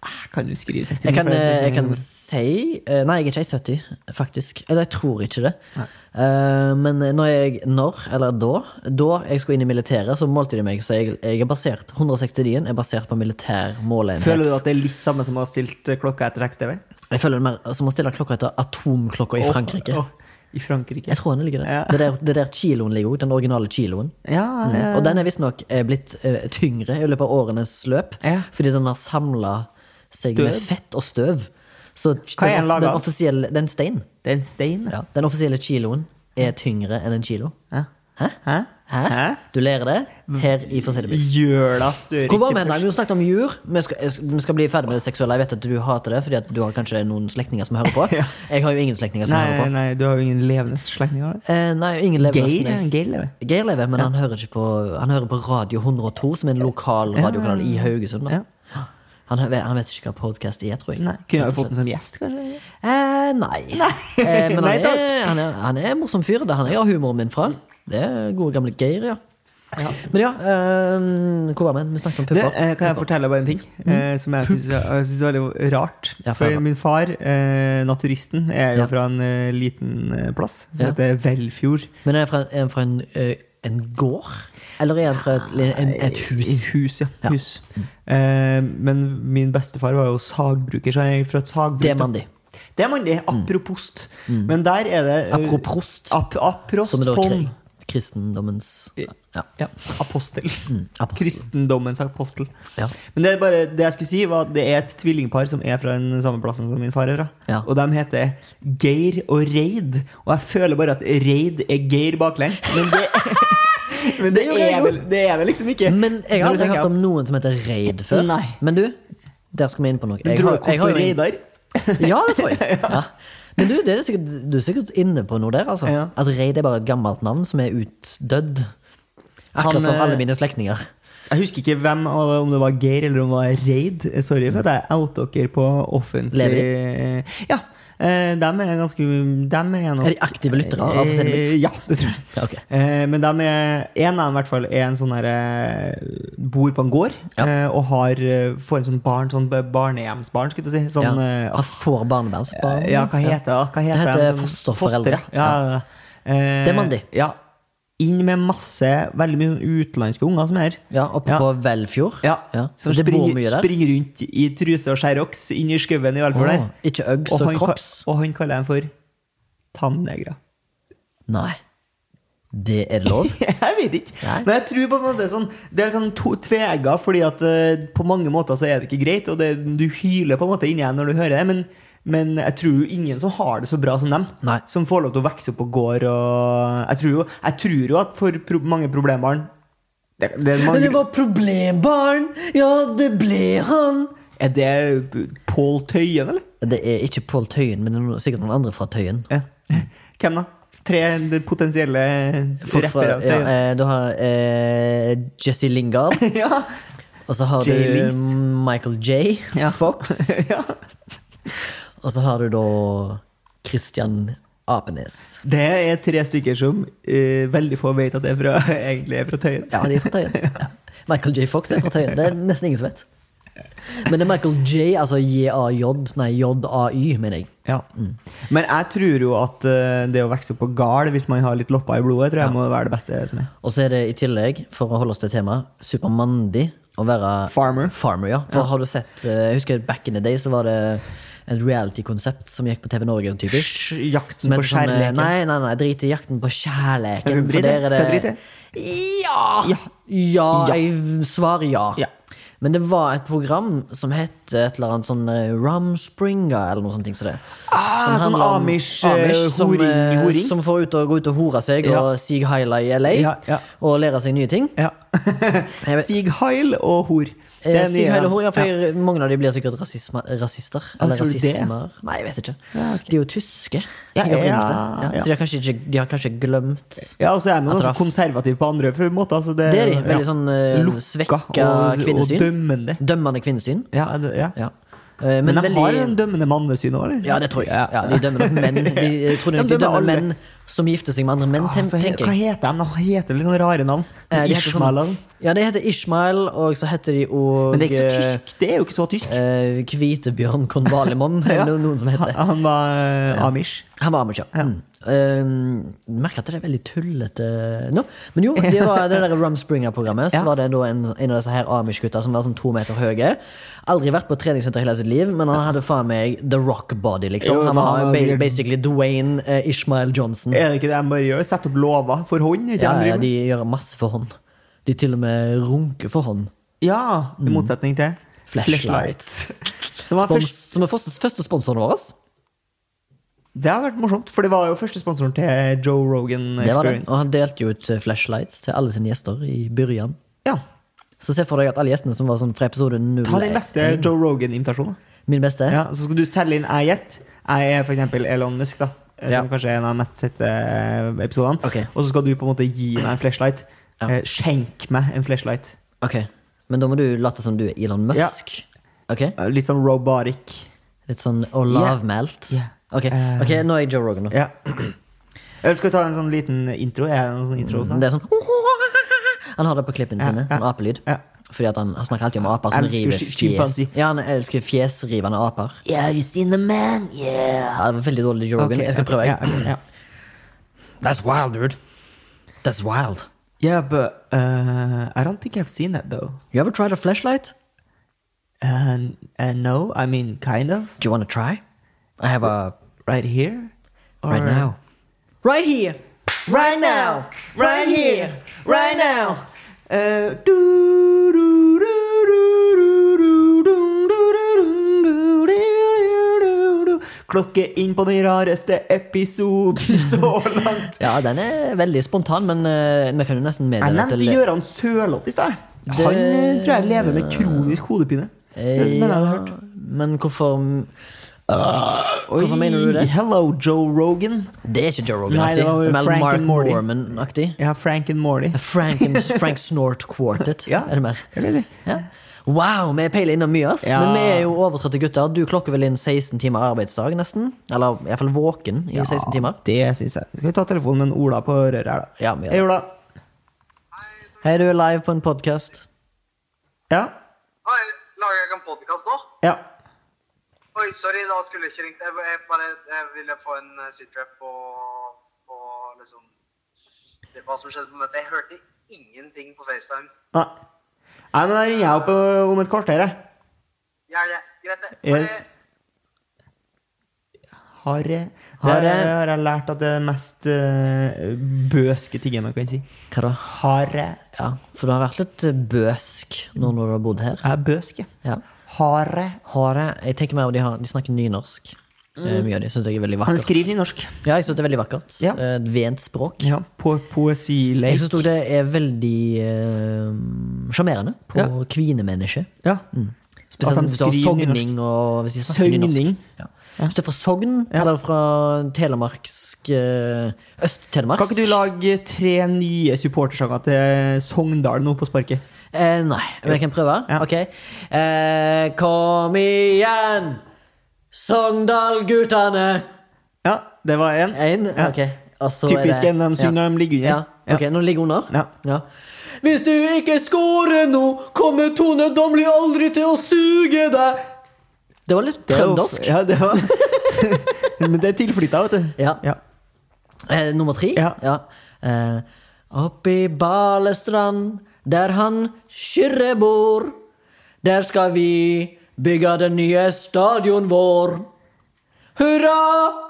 Speaker 2: «Ah, Kan du skrive 69?
Speaker 3: jeg kan,
Speaker 2: for det er
Speaker 3: eh, jeg
Speaker 2: 69?»
Speaker 3: kan si eh, Nei, jeg er ikke A70, faktisk. Eller jeg tror ikke det. Eh, Men når jeg Når, eller da, da jeg skulle inn i militæret, så målte de meg. Så jeg, jeg er basert 169-en er basert på militær måleenhet.
Speaker 2: Føler du at det er litt samme som å ha stilt eh, klokka etter tekst-TV?
Speaker 3: Jeg føler det mer som å stille klokka etter atomklokka i
Speaker 2: Å,
Speaker 3: Frankrike.
Speaker 2: å, I Frankrike?
Speaker 3: Jeg tror den ligger der.
Speaker 2: Ja.
Speaker 3: Det der, det der kiloen ligger òg. Den originale kiloen. Mm.
Speaker 2: Ja, ja.
Speaker 3: Og den er visstnok eh, blitt eh, tyngre i løpet av årenes løp,
Speaker 2: Ja.
Speaker 3: fordi den har samla seg med
Speaker 2: Støv.
Speaker 3: fett og støv. Så
Speaker 2: Hva er den
Speaker 3: den,
Speaker 2: laget
Speaker 3: den
Speaker 2: av?
Speaker 3: offisielle Det er en stein.
Speaker 2: Det er en stein.
Speaker 3: Ja. Den offisielle kiloen er tyngre enn en kilo.
Speaker 2: Ja.
Speaker 3: Hæ?
Speaker 2: Hæ?
Speaker 3: Hæ?
Speaker 2: Hæ?
Speaker 3: Du lærer det her i Forsetteby.
Speaker 2: Gjøla Støre
Speaker 3: Hvor var vi hen? da? Vi snakket om jur. Vi skal, jeg- vi skal bli ferdig med det seksuelle. Jeg vet at du hater det, fordi at du har kanskje noen slektninger som hører på. Jeg har jo ingen slektninger som
Speaker 2: Nei,
Speaker 3: hører på.
Speaker 2: nei, du har jo ingen levende slektninger. da.
Speaker 3: Eh, nei, ingen lever
Speaker 2: Geir,
Speaker 3: nesten
Speaker 2: ja,
Speaker 3: jeg.
Speaker 2: Geir lever.
Speaker 3: Geir lever, men han hører ikke på Han hører på Radio 102, som er en lokal radiokanal i Haugesund. Da.
Speaker 2: Ja.
Speaker 3: Han, hø- han vet ikke hva podkast er, tror jeg.
Speaker 2: Nei, kunne jeg jo fått den som gjest, kanskje?
Speaker 3: Eh, nei. Eh, men han,
Speaker 2: Nei, takk.
Speaker 3: er, han, er, han er en morsom fyr. Det er han jeg har humoren min fra. Det er gode, gamle Geir, ja. Men ja, eh, hvor var vi? Vi snakket om
Speaker 2: Du,
Speaker 3: pupper.
Speaker 2: eh, kan jeg fortelle bare en ting eh, som jeg syns er jeg synes er veldig rart?
Speaker 3: Mm. Ja, for
Speaker 2: For
Speaker 3: jeg-
Speaker 2: min far, eh, naturisten, er jo
Speaker 3: Ja.
Speaker 2: fra en eh, liten eh, plass som
Speaker 3: Ja.
Speaker 2: heter Velfjord.
Speaker 3: Men er han fra, er han fra en, eh, en gård? Eller er han fra et, en, et hus?
Speaker 2: I hus, ja.
Speaker 3: Ja. Mm.
Speaker 2: Hus. Eh, men min bestefar var jo sagbruker, så han er fra et sagbruk.
Speaker 3: Det er mandig. Mm.
Speaker 2: Det er mandig. Apropost. Men der er det eh,
Speaker 3: Aproprost,
Speaker 2: Ap aprost
Speaker 3: som er da
Speaker 2: pom.
Speaker 3: kri- kristendommens Ja.
Speaker 2: Ja, apostel.
Speaker 3: apostel.
Speaker 2: Kristendommens apostel.
Speaker 3: Ja.
Speaker 2: Men det, er bare, det jeg skulle si var at det er et tvillingpar som er fra den samme plassen som min far er fra.
Speaker 3: Ja.
Speaker 2: Og de heter Geir og Reid. Og jeg føler bare at Reid er Geir baklengs. Men det, men det,
Speaker 3: Det gjør jeg
Speaker 2: er,
Speaker 3: jo.
Speaker 2: vel, det er vel liksom ikke
Speaker 3: Men jeg har
Speaker 2: Når du
Speaker 3: aldri
Speaker 2: tenker
Speaker 3: hørt
Speaker 2: at-
Speaker 3: om noen som heter Reid før.
Speaker 2: Nei.
Speaker 3: Men du, der skal vi inn på noe. Jeg
Speaker 2: Dro
Speaker 3: har-
Speaker 2: dere
Speaker 3: jeg har
Speaker 2: opp for
Speaker 3: jo en-
Speaker 2: Reidar?
Speaker 3: Ja, det tror jeg. Ja. Men du, det er sikkert, du er sikkert inne på noe der, altså.
Speaker 2: Ja.
Speaker 3: At Reid er bare et gammelt navn som er utdødd.
Speaker 2: Han,
Speaker 3: Akkurat som
Speaker 2: eh,
Speaker 3: alle mine slektninger.
Speaker 2: Jeg husker ikke hvem, og om det var Geir eller om det var Reid. Sorry for at jeg outa dere på offentlig Ja. eh, Dem er ganske dem er, en av-
Speaker 3: Er de aktive lyttere av Offentlig Milf?
Speaker 2: Eh, Ja, det tror jeg.
Speaker 3: Ja, ok.
Speaker 2: Eh, Men dem er, en av dem i hvert fall er en sånn derre Bor på en gård
Speaker 3: Ja.
Speaker 2: eh, og har, eh, får en sånn barn, sånn barnehjemsbarn, skulle jeg til å si. Sånn, eh,
Speaker 3: Han får barnevernsbarn.
Speaker 2: ja, hva heter det? Hva heter
Speaker 3: heter
Speaker 2: den som-
Speaker 3: fosterforeldre.
Speaker 2: Foster, ja. Ja, ja, ja. Eh,
Speaker 3: Det er mandig.
Speaker 2: Ja. Inn med masse, veldig mye utenlandske unger som er her.
Speaker 3: Ja, oppe
Speaker 2: Ja.
Speaker 3: på Velfjord.
Speaker 2: Ja, Som
Speaker 3: Det bor
Speaker 2: springer,
Speaker 3: mye der.
Speaker 2: springer rundt i truse og skjerox inn i skauen i alle fall der.
Speaker 3: Åh, ikke Uggs
Speaker 2: Og
Speaker 3: og
Speaker 2: han,
Speaker 3: Crocs.
Speaker 2: ka- og han kaller dem for tannegre.
Speaker 3: Nei. Det er det lov?
Speaker 2: Jeg vet ikke.
Speaker 3: Nei.
Speaker 2: Men jeg tror på en måte sånn, det er sånn to tvega, fordi at eh, på mange måter så er det ikke greit, og det, du hyler på en måte inni deg når du hører det. Men, men jeg tror jo ingen som har det så bra som dem,
Speaker 3: Nei.
Speaker 2: som får lov til å vokse opp på gård og Jeg tror jo, jeg tror jo at for pro mange problembarn det, det er,
Speaker 3: Men det
Speaker 2: mange,
Speaker 3: var problembarn! Ja, det ble han!
Speaker 2: er det Pål Tøyen, eller?
Speaker 3: Det er ikke Pål Tøyen, men det er no- sikkert noen andre fra Tøyen.
Speaker 2: Ja. Hvem da? Tre potensielle
Speaker 3: Folk fra,
Speaker 2: rappere av
Speaker 3: ja,
Speaker 2: Tøyen?
Speaker 3: eh, du har eh, Jesse Lingard,
Speaker 2: Ja.
Speaker 3: og så har
Speaker 2: Jay
Speaker 3: du
Speaker 2: Lings.
Speaker 3: Michael J. Fox,
Speaker 2: ja.
Speaker 3: og så har du da Christian Apenes.
Speaker 2: Det er tre stykker som eh, veldig få vet at det er fra, egentlig er fra Tøyen.
Speaker 3: Ja, de er fra Tøyen. Ja. Michael J. Fox er fra Tøyen. Det er nesten ingen som vet. Men det er Michael J, altså JAJ, nei JAY, mener jeg.
Speaker 2: Ja.
Speaker 3: Mm.
Speaker 2: Men jeg tror jo at eh, det å vokse opp på gard hvis man har litt lopper i blodet, tror jeg må være det beste som er.
Speaker 3: Og så er det i tillegg, for å holde oss til temaet, supermandig å være
Speaker 2: Farmer.
Speaker 3: farmer ja. For har du sett eh, Jeg husker back in the day så var det et reality-konsept som gikk på TV Norge. typisk
Speaker 2: Sj- Jakten
Speaker 3: Som
Speaker 2: på
Speaker 3: heter sånn, eh,
Speaker 2: kjærligheten.
Speaker 3: Nei, nei, nei, drit i jakten på kjærleiken.
Speaker 2: Skal vi drite? Skal vi drite?
Speaker 3: Ja! ja!
Speaker 2: Ja.
Speaker 3: jeg svarer ja.
Speaker 2: Ja.
Speaker 3: Men det var et program som het et eller annet sånn eh, Rumspringa, eller noe sånt. ting som det.
Speaker 2: Ah, sånn
Speaker 3: handler om
Speaker 2: Amish, eh,
Speaker 3: som, eh,
Speaker 2: horing- horing.
Speaker 3: Som får ut og, gå ut og hore seg
Speaker 2: Ja.
Speaker 3: og sig heila i LA.
Speaker 2: Ja, ja.
Speaker 3: Og lære seg nye ting.
Speaker 2: Ja.
Speaker 3: Jeg vet-
Speaker 2: Sig Heil og hor. Det
Speaker 3: Eh,
Speaker 2: er
Speaker 3: Sig
Speaker 2: nye-
Speaker 3: heil og hore, ja, for
Speaker 2: ja.
Speaker 3: jeg- Mange av de blir sikkert rasisma, rasister. Eller
Speaker 2: tror du det?
Speaker 3: rasismer. Nei, jeg vet ikke.
Speaker 2: Ja, ok.
Speaker 3: De er jo tyske.
Speaker 2: Ja,
Speaker 3: i opprinnelse.
Speaker 2: ja, ja.
Speaker 3: Så de har kanskje, ikke, de har kanskje glemt
Speaker 2: Ja, og så er
Speaker 3: Jeg
Speaker 2: man ganske
Speaker 3: traff-
Speaker 2: konservativ på andre f- måter. Så altså, det,
Speaker 3: Det er de. Veldig
Speaker 2: ja.
Speaker 3: sånn eh,
Speaker 2: Lukka
Speaker 3: svekka
Speaker 2: og-
Speaker 3: kvinnesyn.
Speaker 2: Og dømmende.
Speaker 3: Dømmende kvinnesyn.
Speaker 2: Ja, det, ja.
Speaker 3: Ja. Eh,
Speaker 2: Men,
Speaker 3: men,
Speaker 2: de
Speaker 3: veldig
Speaker 2: har en dømmende mannesyn òg, eller?
Speaker 3: Ja, det tror jeg.
Speaker 2: Ja.
Speaker 3: Ja, de dømmer nok menn. De, jeg tror
Speaker 2: Ja,
Speaker 3: nok de
Speaker 2: men dømmer
Speaker 3: dømmer
Speaker 2: alle.
Speaker 3: menn som gifter seg med andre menn,
Speaker 2: Ah,
Speaker 3: ten-
Speaker 2: så he-
Speaker 3: tenker
Speaker 2: hva
Speaker 3: jeg.
Speaker 2: heter de? Hva heter de? Litt sånne rare navn.
Speaker 3: Eh, de heter sånn-
Speaker 2: Ishmael og sånn.
Speaker 3: Ja, det heter Ishmael, og så heter de og
Speaker 2: Men det er ikke så tysk. Det er jo ikke så tysk.
Speaker 3: eh, Kvitebjørn Konvalimon, eller noe- noen som heter.
Speaker 2: Han- Han var eh, amish.
Speaker 3: Han var amatør. Mm. Um, Merker at det er veldig tullete nå. Men jo, det var det der Rumspringer-programmet. Så
Speaker 2: Ja.
Speaker 3: var det da en, en av disse her Amish-gutta som var sånn to meter høye. Aldri vært på treningssenter i hele sitt liv, men han hadde faen meg the rock body, liksom.
Speaker 2: Jo,
Speaker 3: han
Speaker 2: men
Speaker 3: var
Speaker 2: han var
Speaker 3: ba-
Speaker 2: sikkert-
Speaker 3: basically Dwayne eh, Ishmael Johnson.
Speaker 2: Er det ikke det de bare gjør? Sette opp lover for hånd? Ikke
Speaker 3: Ja,
Speaker 2: de
Speaker 3: ja,
Speaker 2: driver med?
Speaker 3: de gjør masse for hånd. De til og med runker for hånd.
Speaker 2: ja, i motsetning til
Speaker 3: Mm. Flashlight.
Speaker 2: Som var
Speaker 3: Spons,
Speaker 2: først,
Speaker 3: som er første, første sponsoren vår.
Speaker 2: det har vært morsomt, for det var jo første sponsoren til Joe Rogan
Speaker 3: Det var det.
Speaker 2: Experience.
Speaker 3: Og han delte jo ut eh, flashlights til alle sine gjester i byrjan.
Speaker 2: Ja,
Speaker 3: Så se for deg at alle gjestene som var sånn fra episode 0
Speaker 2: Ta den beste Joe Rogan-invitasjonen. da.
Speaker 3: Min beste?
Speaker 2: Ja, så skal du selge inn ei gjest. Jeg er for eksempel Elon Musk, da. eh, Som
Speaker 3: Ja.
Speaker 2: kanskje er en av de mest sette eh, episodene.
Speaker 3: Ok.
Speaker 2: Og så skal du på en måte gi meg en flashlight.
Speaker 3: Ja.
Speaker 2: Eh, Skjenk meg en flashlight.
Speaker 3: Ok, men da må du late som du er Elon Musk. Ok,
Speaker 2: Eh, Litt sånn robotic.
Speaker 3: Litt sånn og lavmælt.
Speaker 2: Yeah.
Speaker 3: Ok,
Speaker 2: Eh.
Speaker 3: ok, nå er jeg Joe Rogan. nå.
Speaker 2: Ja. Eller skal vi ta en sånn liten intro? Er det noen sånn intro? da?
Speaker 3: Det er sånn Han har det på klippene sine,
Speaker 2: ja.
Speaker 3: sånn apelyd.
Speaker 2: Ja.
Speaker 3: Fordi at han, han snakker alltid om aper som
Speaker 2: Elsker
Speaker 3: river
Speaker 2: sky-
Speaker 3: fjes.
Speaker 2: sjimpansi.
Speaker 3: Ja, han elsker fjesrivende aper.
Speaker 2: Yeah, have you seen the man? Yeah.
Speaker 3: Ja, det var veldig dårlig Joe Rogan. Jeg skal prøve.
Speaker 2: Yeah,
Speaker 3: jeg. That's wild, dude. That's wild.
Speaker 2: but uh, I don't think I've seen that though.
Speaker 3: You ever tried a flashlight?
Speaker 2: Uh, uh, no, I mean, kind of.
Speaker 3: Do you want to try? I have a
Speaker 2: Right here? Or-
Speaker 3: right now. Right here.
Speaker 2: Right now! Right here! Right now! Uh, do, do, do, do, do, do, dum, do, do, dum, do, do, do, do, do. Klokke inn på den rareste episoden så langt.
Speaker 3: Ja, den er veldig spontan, men eh, vi kan jo nesten
Speaker 2: Jeg
Speaker 3: meddele
Speaker 2: nevnte Gøran Sørloth i stad. Han eh, tror jeg
Speaker 3: Eh,
Speaker 2: lever med kronisk hodepine. Det mener jeg har hørt.
Speaker 3: Men hvorfor Hvorfor mener du det?
Speaker 2: Hello, Joe Rogan.
Speaker 3: Det er ikke Joe
Speaker 2: Nei, det
Speaker 3: Rogan-aktig.
Speaker 2: var
Speaker 3: Det er mer
Speaker 2: Frank
Speaker 3: Mark
Speaker 2: and Morty.
Speaker 3: Norman-aktig.
Speaker 2: Ja, Frank and Morty.
Speaker 3: Frank, and, Frank Snort Quartet.
Speaker 2: Ja.
Speaker 3: Er det mer?
Speaker 2: Jeg vet ikke.
Speaker 3: Ja. Wow, vi peiler innom mye, ass.
Speaker 2: Ja.
Speaker 3: Men vi er jo overtrøtte gutter. Du klokker vel inn 16 timer arbeidsdag, nesten? Eller iallfall våken i 16 timer.
Speaker 2: Det syns jeg. Skal vi ta telefonen med en Ola på røret her, da?
Speaker 3: Ja, vi gjør
Speaker 2: Hei,
Speaker 3: det.
Speaker 2: Ola.
Speaker 3: Hei, du er live på en podkast.
Speaker 2: Ja?
Speaker 4: Hei, lager jeg en podcast nå?
Speaker 2: Ja.
Speaker 4: Oi, sorry, da skulle jeg ikke ringt. Jeg, jeg bare jeg ville få en eh, sitrep på, på liksom det, hva som skjedde på møtet. Jeg hørte ingenting på FaceTime.
Speaker 2: Nei. Nei, men da ringer jeg opp ø, om et kvarter, jeg.
Speaker 4: Gjerne. Greit, det. Bare-
Speaker 2: Yes. Har jeg,
Speaker 3: Har
Speaker 2: det
Speaker 3: jeg-
Speaker 2: har jeg lært at det er mest ø, bøske tingen man kan si.
Speaker 3: Hva da?
Speaker 2: Har jeg
Speaker 3: Ja, for du har vært litt eh, bøsk nå når du har bodd her.
Speaker 2: Jeg er bøsk, jeg.
Speaker 3: Ja.
Speaker 2: Har jeg
Speaker 3: Har jeg, jeg tenker mer av de, har, de snakker nynorsk. Eh,
Speaker 2: Mm.
Speaker 3: Mye av de syns jeg er veldig
Speaker 2: Han
Speaker 3: vakkert.
Speaker 2: skriver i norsk.
Speaker 3: Ja, jeg synes det er veldig vakkert.
Speaker 2: Ja.
Speaker 3: Eh, Et vent språk.
Speaker 2: Ja, på
Speaker 3: Jeg
Speaker 2: poesileik.
Speaker 3: syns det er veldig eh, sjarmerende på
Speaker 2: Ja.
Speaker 3: kvinemennesket.
Speaker 2: Ja.
Speaker 3: Spesielt
Speaker 2: At de
Speaker 3: hvis du har
Speaker 2: skriver
Speaker 3: sogning og hvis de snakker
Speaker 2: Søgning.
Speaker 3: nynorsk. Ja. Hvis du er fra Sogn eller fra telemarksk eh, Øst-Telemark
Speaker 2: Kan ikke du lage tre nye supportersanger til Sogndal nå på sparket?
Speaker 3: Eh, nei, men jeg kan prøve.
Speaker 2: Ja.
Speaker 3: Ok. Eh, kom igjen, Sogndal-guttene!
Speaker 2: Ja, det var én.
Speaker 3: Én?
Speaker 2: Ja.
Speaker 3: Ok. Og så er
Speaker 2: Typisk
Speaker 3: det-
Speaker 2: en de synger når de ligger under.
Speaker 3: Ja. Ok, nå ligger hun under?
Speaker 2: Ja.
Speaker 3: Hvis du ikke scorer nå, kommer Tone Damli aldri til å suge deg! Det var litt
Speaker 2: Det er jo-
Speaker 3: trøndersk.
Speaker 2: Ja, det var Men det er tilflytta, vet du.
Speaker 3: Ja.
Speaker 2: Ja.
Speaker 3: Eh, nummer tre?
Speaker 2: Ja.
Speaker 3: Eh, Oppi Balestrand, der han Kyrre bor, der skal vi bygge den nye stadion vår. Hurra!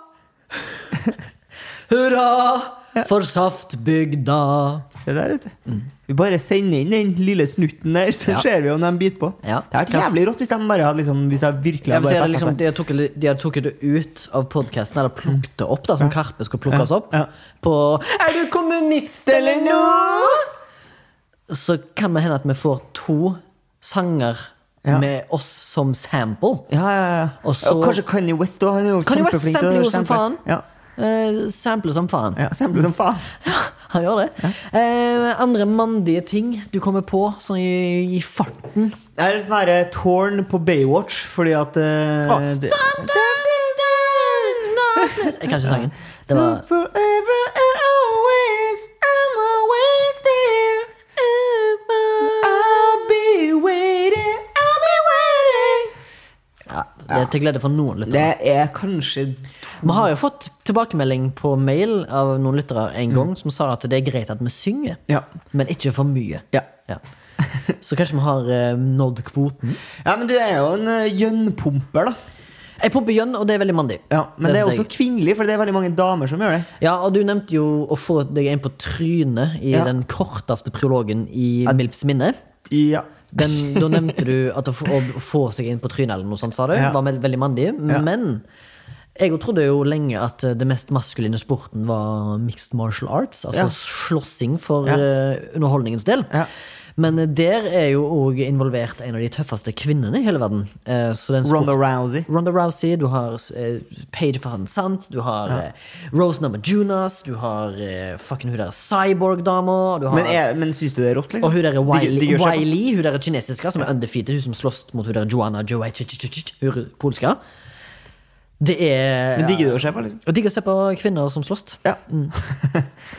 Speaker 3: Hurra for Saftbygda.
Speaker 2: Se der, vet du. Vi bare sender inn den lille snutten der, så
Speaker 3: Ja.
Speaker 2: ser vi om de biter på.
Speaker 3: Ja.
Speaker 2: Det hadde vært jævlig rått hvis de bare hadde liksom, Hvis de virkelig
Speaker 3: Jeg
Speaker 2: hadde
Speaker 3: vil si
Speaker 2: bare
Speaker 3: det
Speaker 2: altså. festet
Speaker 3: liksom,
Speaker 2: seg.
Speaker 3: de har tatt- de har tatt det ut av podkasten, eller plukket det opp, da, som Karpe skulle plukkes opp,
Speaker 2: Ja.
Speaker 3: på Er du kommunist eller noe?! Så kan det hende at vi får to sanger
Speaker 2: Ja.
Speaker 3: med oss som sample.
Speaker 2: Ja, ja, ja.
Speaker 3: Og så-
Speaker 2: Og kanskje Kanye West òg. Han er jo
Speaker 3: Kanye West
Speaker 2: kjempeflink
Speaker 3: sampler jo som
Speaker 2: sample.
Speaker 3: faen.
Speaker 2: Ja.
Speaker 3: Eh, sample som faen.
Speaker 2: ja, sample som faen.
Speaker 3: Han gjør det. Eh, andre mandige ting du kommer på sånn i, i farten?
Speaker 2: Det er sånn herre tårn på Baywatch, fordi at eh,
Speaker 3: Å,
Speaker 2: det-
Speaker 3: Jeg kan ikke sangen. Det var
Speaker 2: Forever and always, I'm always there. I'll be waiting, I'll be waiting.
Speaker 3: ja, det er til glede for noen lyttere.
Speaker 2: Det er kanskje
Speaker 3: Vi har jo fått tilbakemelding på mail av noen lyttere en gang
Speaker 2: Mm.
Speaker 3: som sa at det er greit at vi synger,
Speaker 2: Ja.
Speaker 3: men ikke for mye.
Speaker 2: Ja,
Speaker 3: Ja. Så kanskje vi har eh, nådd kvoten.
Speaker 2: ja men du er jo en eh, gjønnpumper, da.
Speaker 3: Jeg pumper gjønn, og det er veldig mandig.
Speaker 2: Ja, men det er
Speaker 3: synes
Speaker 2: også
Speaker 3: jeg.
Speaker 2: kvinnelig, for det er veldig mange damer som gjør det.
Speaker 3: Ja, og du nevnte jo å få deg inn på trynet i
Speaker 2: Ja.
Speaker 3: den korteste prologen i Milfs minne.
Speaker 2: Ja.
Speaker 3: Den, da nevnte du at å få, å få seg inn på trynet eller noe sånt, sa du,
Speaker 2: Ja.
Speaker 3: var veld- veldig mandig.
Speaker 2: Ja.
Speaker 3: Men jeg jo trodde jo lenge at eh, det mest maskuline sporten var mixed martial arts. Altså
Speaker 2: Ja.
Speaker 3: slåssing for
Speaker 2: Ja.
Speaker 3: eh, underholdningens del.
Speaker 2: Ja.
Speaker 3: Men eh, der er jo òg involvert en av de tøffeste kvinnene i hele verden. Eh, Så den
Speaker 2: Ronda
Speaker 3: sport-
Speaker 2: Rousey.
Speaker 3: Ronda Rousey, du har eh, Paige Fahan Sant, du har eh, Rose Number Junas, du har eh, fucking hun der cyborg-dama, du har
Speaker 2: Men, er- men syns du det er rått, liksom?
Speaker 3: og hun der
Speaker 2: Digger-
Speaker 3: Wiley,
Speaker 2: digger å se på?
Speaker 3: Wiley hun der kinesiske som er undefeated, hun som slåss mot hun der Joanna Joey, ch- ch- ch- ch- hun polske. Det er
Speaker 2: Men digger du å se på, liksom?
Speaker 3: Jeg digger å se på kvinner som slåss.
Speaker 2: Ja.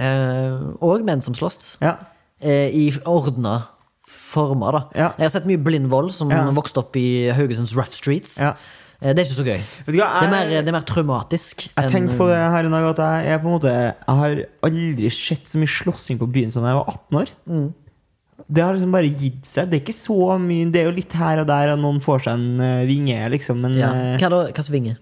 Speaker 3: Eh, og menn som slåss.
Speaker 2: ja.
Speaker 3: Eh, I ordna former, da.
Speaker 2: Ja.
Speaker 3: Jeg har sett mye blind vold som
Speaker 2: Ja.
Speaker 3: vokste opp i Haugesunds rough streets.
Speaker 2: Ja.
Speaker 3: Eh, det er ikke så gøy.
Speaker 2: Vet du hva,
Speaker 3: Det er mer,
Speaker 2: jeg-
Speaker 3: det er mer traumatisk.
Speaker 2: Jeg
Speaker 3: enn-
Speaker 2: tenkte på det her i dag at jeg er på en måte Jeg har aldri sett så mye slåssing på byen som da jeg var 18 år.
Speaker 3: Mm.
Speaker 2: Det har liksom bare gitt seg. Det er ikke så mye Det er jo litt her og der at noen får seg en eh, vinge, liksom, men
Speaker 3: ja.
Speaker 2: eh,
Speaker 3: Hva da? Hva som vinger?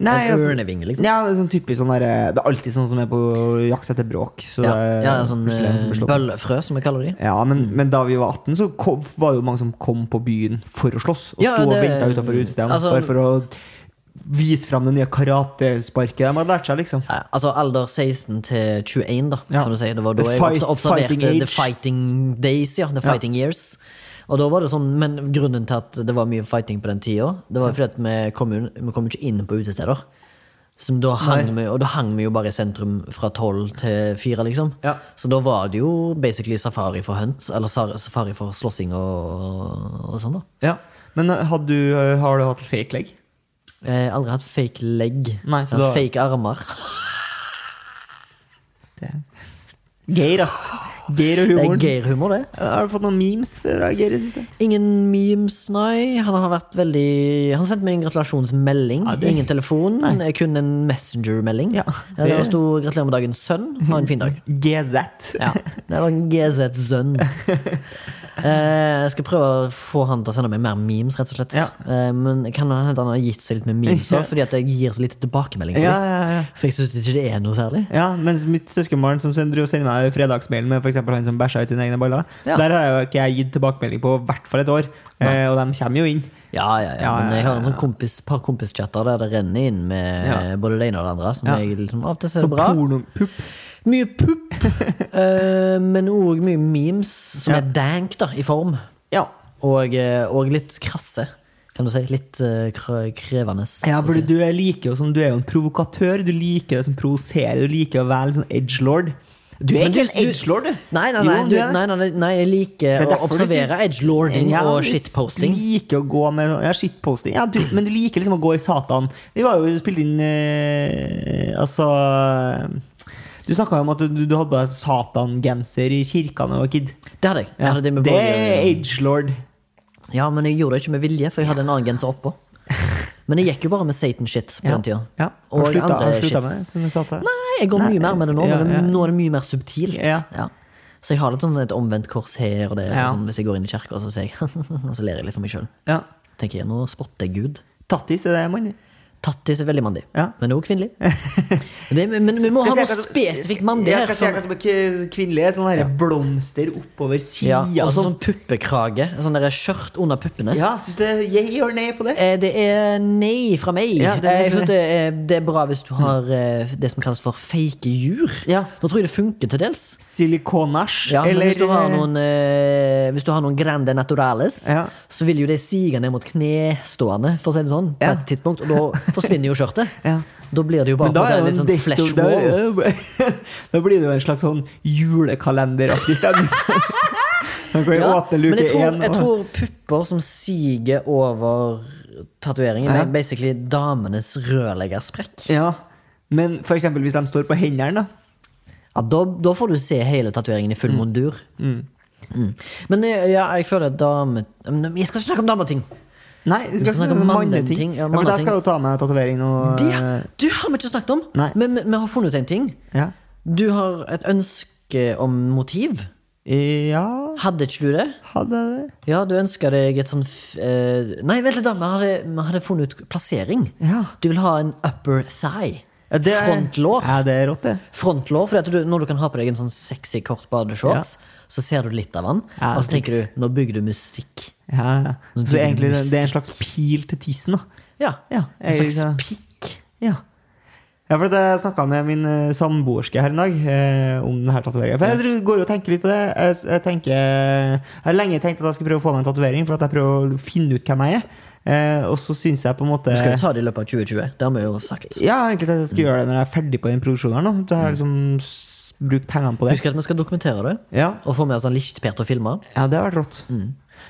Speaker 2: nei,
Speaker 3: en
Speaker 2: altså-
Speaker 3: ørnevinge, liksom?
Speaker 2: Ja, det er sånn typisk sånn der, eh, Det er alltid sånn som er på jakt etter bråk. Så
Speaker 3: Ja,
Speaker 2: det er
Speaker 3: ja, sånn
Speaker 2: plutselig en som
Speaker 3: eh, Mm.
Speaker 2: blir slått.
Speaker 3: bøllefrø, som vi kaller de.
Speaker 2: Ja, men, men da vi var 18, så kom, var det jo mange som kom på byen for å slåss. Og
Speaker 3: Ja,
Speaker 2: sto og
Speaker 3: det-
Speaker 2: venta utafor utestedene
Speaker 3: altså-
Speaker 2: bare for å vise fram det nye karatesparket de hadde lært seg, liksom.
Speaker 3: Ja, altså alder 16 til 21, da.
Speaker 2: Ja.
Speaker 3: Som du sier. Det var da
Speaker 2: The
Speaker 3: jeg
Speaker 2: fight-
Speaker 3: obs- observerte
Speaker 2: fighting age.
Speaker 3: The Fighting Days, ja. The Fighting Years. Og da var det sånn, Men grunnen til at det var mye fighting på den tida, det var fordi at vi kom, jo- vi kom ikke inn på utesteder. Som da hang vi, og da hang vi jo bare i sentrum fra tolv til fire, liksom.
Speaker 2: Ja.
Speaker 3: Så da var det jo basically safari for hunts, eller sa- safari for slåssing og, og sånn, da.
Speaker 2: Ja. Men eh, hadde du, eh, har du hatt fake leg?
Speaker 3: Jeg har Eh, aldri hatt fake legg.
Speaker 2: Nei, så
Speaker 3: Jeg har
Speaker 2: da-
Speaker 3: Fake armer.
Speaker 2: Geir, ass. Geir og
Speaker 3: Det er
Speaker 2: humoren.
Speaker 3: Geir-humor, det.
Speaker 2: Har du fått noen memes fra Geir i det siste?
Speaker 3: Ingen memes, nei. Han har vært veldig Han sendte meg en gratulasjonsmelding.
Speaker 2: Ja, det-
Speaker 3: Ingen telefon, eh, kun en Messenger-melding.
Speaker 2: Ja,
Speaker 3: det...
Speaker 2: det-
Speaker 3: sto 'Gratulerer med dagen, sønn. Ha en fin dag'.
Speaker 2: GZ.
Speaker 3: Ja, Det var en GZ-sønn. Eh, jeg skal prøve å få han til å sende meg mer memes, rett og slett.
Speaker 2: Ja.
Speaker 3: Eh, men det kan hende han har gitt seg litt med memes, også,
Speaker 2: Ja.
Speaker 3: fordi at jeg gir så lite tilbakemelding. på
Speaker 2: Ja,
Speaker 3: det.
Speaker 2: ja, ja.
Speaker 3: For jeg syns ikke det er noe særlig.
Speaker 2: Ja, mens mitt søskenbarn som sender, sender meg fredagsmailen med for eksempel han som bæsja ut sine egne baller,
Speaker 3: Ja.
Speaker 2: der har jeg jo ikke jeg gitt tilbakemelding på i hvert fall et år. Eh, og de kommer jo inn.
Speaker 3: Ja, ja, ja.
Speaker 2: Ja,
Speaker 3: Men
Speaker 2: ja,
Speaker 3: jeg har en
Speaker 2: ja,
Speaker 3: sånn kompis, par kompischatter der det renner inn med
Speaker 2: Ja.
Speaker 3: både det ene og det andre. Som
Speaker 2: Ja.
Speaker 3: jeg liksom av og til ser
Speaker 2: Så
Speaker 3: bra.
Speaker 2: pornopupp.
Speaker 3: Mye pupp, eh, men òg mye memes som
Speaker 2: Ja.
Speaker 3: er dank da, i form.
Speaker 2: Ja.
Speaker 3: Og, eh, og litt krasse, kan du si. Litt eh, kre- krevende.
Speaker 2: ja,
Speaker 3: å
Speaker 2: for
Speaker 3: si.
Speaker 2: du er like jo som du er jo en provokatør. Du liker det som provoserer. Du liker å være litt sånn edgelord. Du er
Speaker 3: Men du-
Speaker 2: ikke en
Speaker 3: du-
Speaker 2: edgelord, du.
Speaker 3: Nei, nei,
Speaker 2: Jo,
Speaker 3: nei,
Speaker 2: du
Speaker 3: du,
Speaker 2: er det.
Speaker 3: nei, nei, nei, nei jeg
Speaker 2: Det er
Speaker 3: liker å
Speaker 2: derfor du
Speaker 3: observere
Speaker 2: synes-
Speaker 3: edgelording
Speaker 2: Ja,
Speaker 3: og
Speaker 2: du
Speaker 3: shitposting.
Speaker 2: liker å gå med Ja, shitposting. Ja, du, men du liker liksom å gå i Satan. Vi var jo spilt inn eh, Altså Du snakka jo om at du, du hadde på deg Satan-genser i kirka da du var kid.
Speaker 3: Det hadde jeg. jeg
Speaker 2: Ja,
Speaker 3: hadde det, med
Speaker 2: det er
Speaker 3: borger-
Speaker 2: agelord.
Speaker 3: ja, Men jeg gjorde det ikke med vilje, for jeg hadde en annen genser oppå. Men jeg gikk jo bare med Satan-shit på den tida.
Speaker 2: Ja.
Speaker 3: Og
Speaker 2: Og slutta,
Speaker 3: andre
Speaker 2: han slutta
Speaker 3: shits.
Speaker 2: med det, som jeg sa til deg.
Speaker 3: Nei, jeg går
Speaker 2: Nei,
Speaker 3: mye mer med det nå,
Speaker 2: ja,
Speaker 3: men
Speaker 2: ja.
Speaker 3: nå er det mye mer subtilt.
Speaker 2: Ja.
Speaker 3: Så jeg har litt sånn et omvendt kors her og der.
Speaker 2: Ja.
Speaker 3: Sånn, hvis jeg går inn i kirka, så, sier jeg, og så ler jeg litt for meg sjøl.
Speaker 2: Ja.
Speaker 3: Tenker jeg, nå spotter jeg Gud.
Speaker 2: Tattis er det mann.
Speaker 3: Tattis er veldig mandig,
Speaker 2: Ja.
Speaker 3: men også kvinnelig. Men, det, men vi må ha noe spesifikt mandig
Speaker 2: her.
Speaker 3: her.
Speaker 2: Jeg skal se hva
Speaker 3: sånn-
Speaker 2: som er k- kvinnelig. Sånn her blomster oppover
Speaker 3: ja,
Speaker 2: sida.
Speaker 3: og så
Speaker 2: sånn.
Speaker 3: sånn puppekrage. Sånn der skjørt under puppene.
Speaker 2: Ja, syns du jeg gjør nei på det?
Speaker 3: Eh, Det er nei fra meg.
Speaker 2: Ja, det er
Speaker 3: Eh, jeg
Speaker 2: det.
Speaker 3: synes det, er, det er bra hvis du har eh, det som kalles for fake jur.
Speaker 2: Ja.
Speaker 3: Da tror jeg det funker til dels.
Speaker 2: Silikonasj?
Speaker 3: Ja, men
Speaker 2: eller
Speaker 3: hvis du har
Speaker 2: eh,
Speaker 3: noen eh, Hvis du har noen grande naturales,
Speaker 2: Ja.
Speaker 3: så vil jo det sige ned mot knestående, for å si det sånn, på
Speaker 2: Ja.
Speaker 3: et tidspunkt, og da forsvinner jo skjørtet.
Speaker 2: Ja.
Speaker 3: Da blir det jo bare
Speaker 2: Men da,
Speaker 3: på
Speaker 2: er
Speaker 3: en
Speaker 2: jo
Speaker 3: litt
Speaker 2: en
Speaker 3: sånn
Speaker 2: desto,
Speaker 3: flash
Speaker 2: da,
Speaker 3: wall.
Speaker 2: da blir det jo en slags sånn julekalenderaktig stemning. Man kan jo
Speaker 3: Ja,
Speaker 2: åpne
Speaker 3: men
Speaker 2: luke
Speaker 3: jeg tror,
Speaker 2: én
Speaker 3: jeg
Speaker 2: og
Speaker 3: tror pupper som siger over tatoveringen,
Speaker 2: Ja.
Speaker 3: er basically damenes rørleggersprekk.
Speaker 2: ja. Men for eksempel hvis de står på hendene, da.
Speaker 3: Ja, da, da får du se hele tatoveringen i full mondur. Mm. Men eh, ja, jeg føler at dame... Men Jeg skal ikke snakke om dameting!
Speaker 2: Nei, vi skal,
Speaker 3: snakke om manneting,
Speaker 2: manneting.
Speaker 3: ja,
Speaker 2: Ja, for der
Speaker 3: manneting.
Speaker 2: skal du ta med tatovering og
Speaker 3: Det, du har vi ikke snakket om!
Speaker 2: Eh. Nei.
Speaker 3: Men vi- vi har funnet ut en ting.
Speaker 2: Ja.
Speaker 3: Du har et ønske om motiv.
Speaker 2: ja,
Speaker 3: Hadde ikke du det?
Speaker 2: hadde jeg det?
Speaker 3: Ja, du ønska deg et sånn f- eh, Nei, vent litt, da. Vi hadde, vi hadde funnet ut plassering.
Speaker 2: Ja.
Speaker 3: Du vil ha en upper thigh.
Speaker 2: Ja, det er-
Speaker 3: Frontlår.
Speaker 2: Ja, det er rått, det.
Speaker 3: Frontlår, fordi at du, Når du kan ha på deg en sånn sexy, kort badeshorts, så ser du litt av den.
Speaker 2: Ja,
Speaker 3: og så
Speaker 2: det
Speaker 3: tenker du nå bygger du mystikk.
Speaker 2: Ja, ja.
Speaker 3: Nå blir
Speaker 2: Så
Speaker 3: det
Speaker 2: egentlig det,
Speaker 3: mystikk.
Speaker 2: det er en slags pil til tissen, da.
Speaker 3: Ja.
Speaker 2: Ja,
Speaker 3: en
Speaker 2: jeg-
Speaker 3: slags pikk.
Speaker 2: Ja. Ja, for at Jeg snakka med min eh, samboerske her i dag eh, om denne tatoveringa. For jeg tror- går jo og tenker litt på det. Jeg, s- jeg, tenker, jeg har lenge tenkt at jeg skal prøve å få meg en tatovering, for at jeg prøver å finne ut hvem jeg er. Eh, og så syns jeg på en måte
Speaker 3: Du skal jo ta det i løpet av 2020. Det har vi jo sagt.
Speaker 2: Ja, egentlig at jeg skal gjøre det når jeg er ferdig på den produksjonen her nå. Så jeg liksom s- Bruk pengene på det.
Speaker 3: Husk at vi skal dokumentere det,
Speaker 2: Ja,
Speaker 3: og få med oss en lichtper til å filme.
Speaker 2: ja det har vært rått.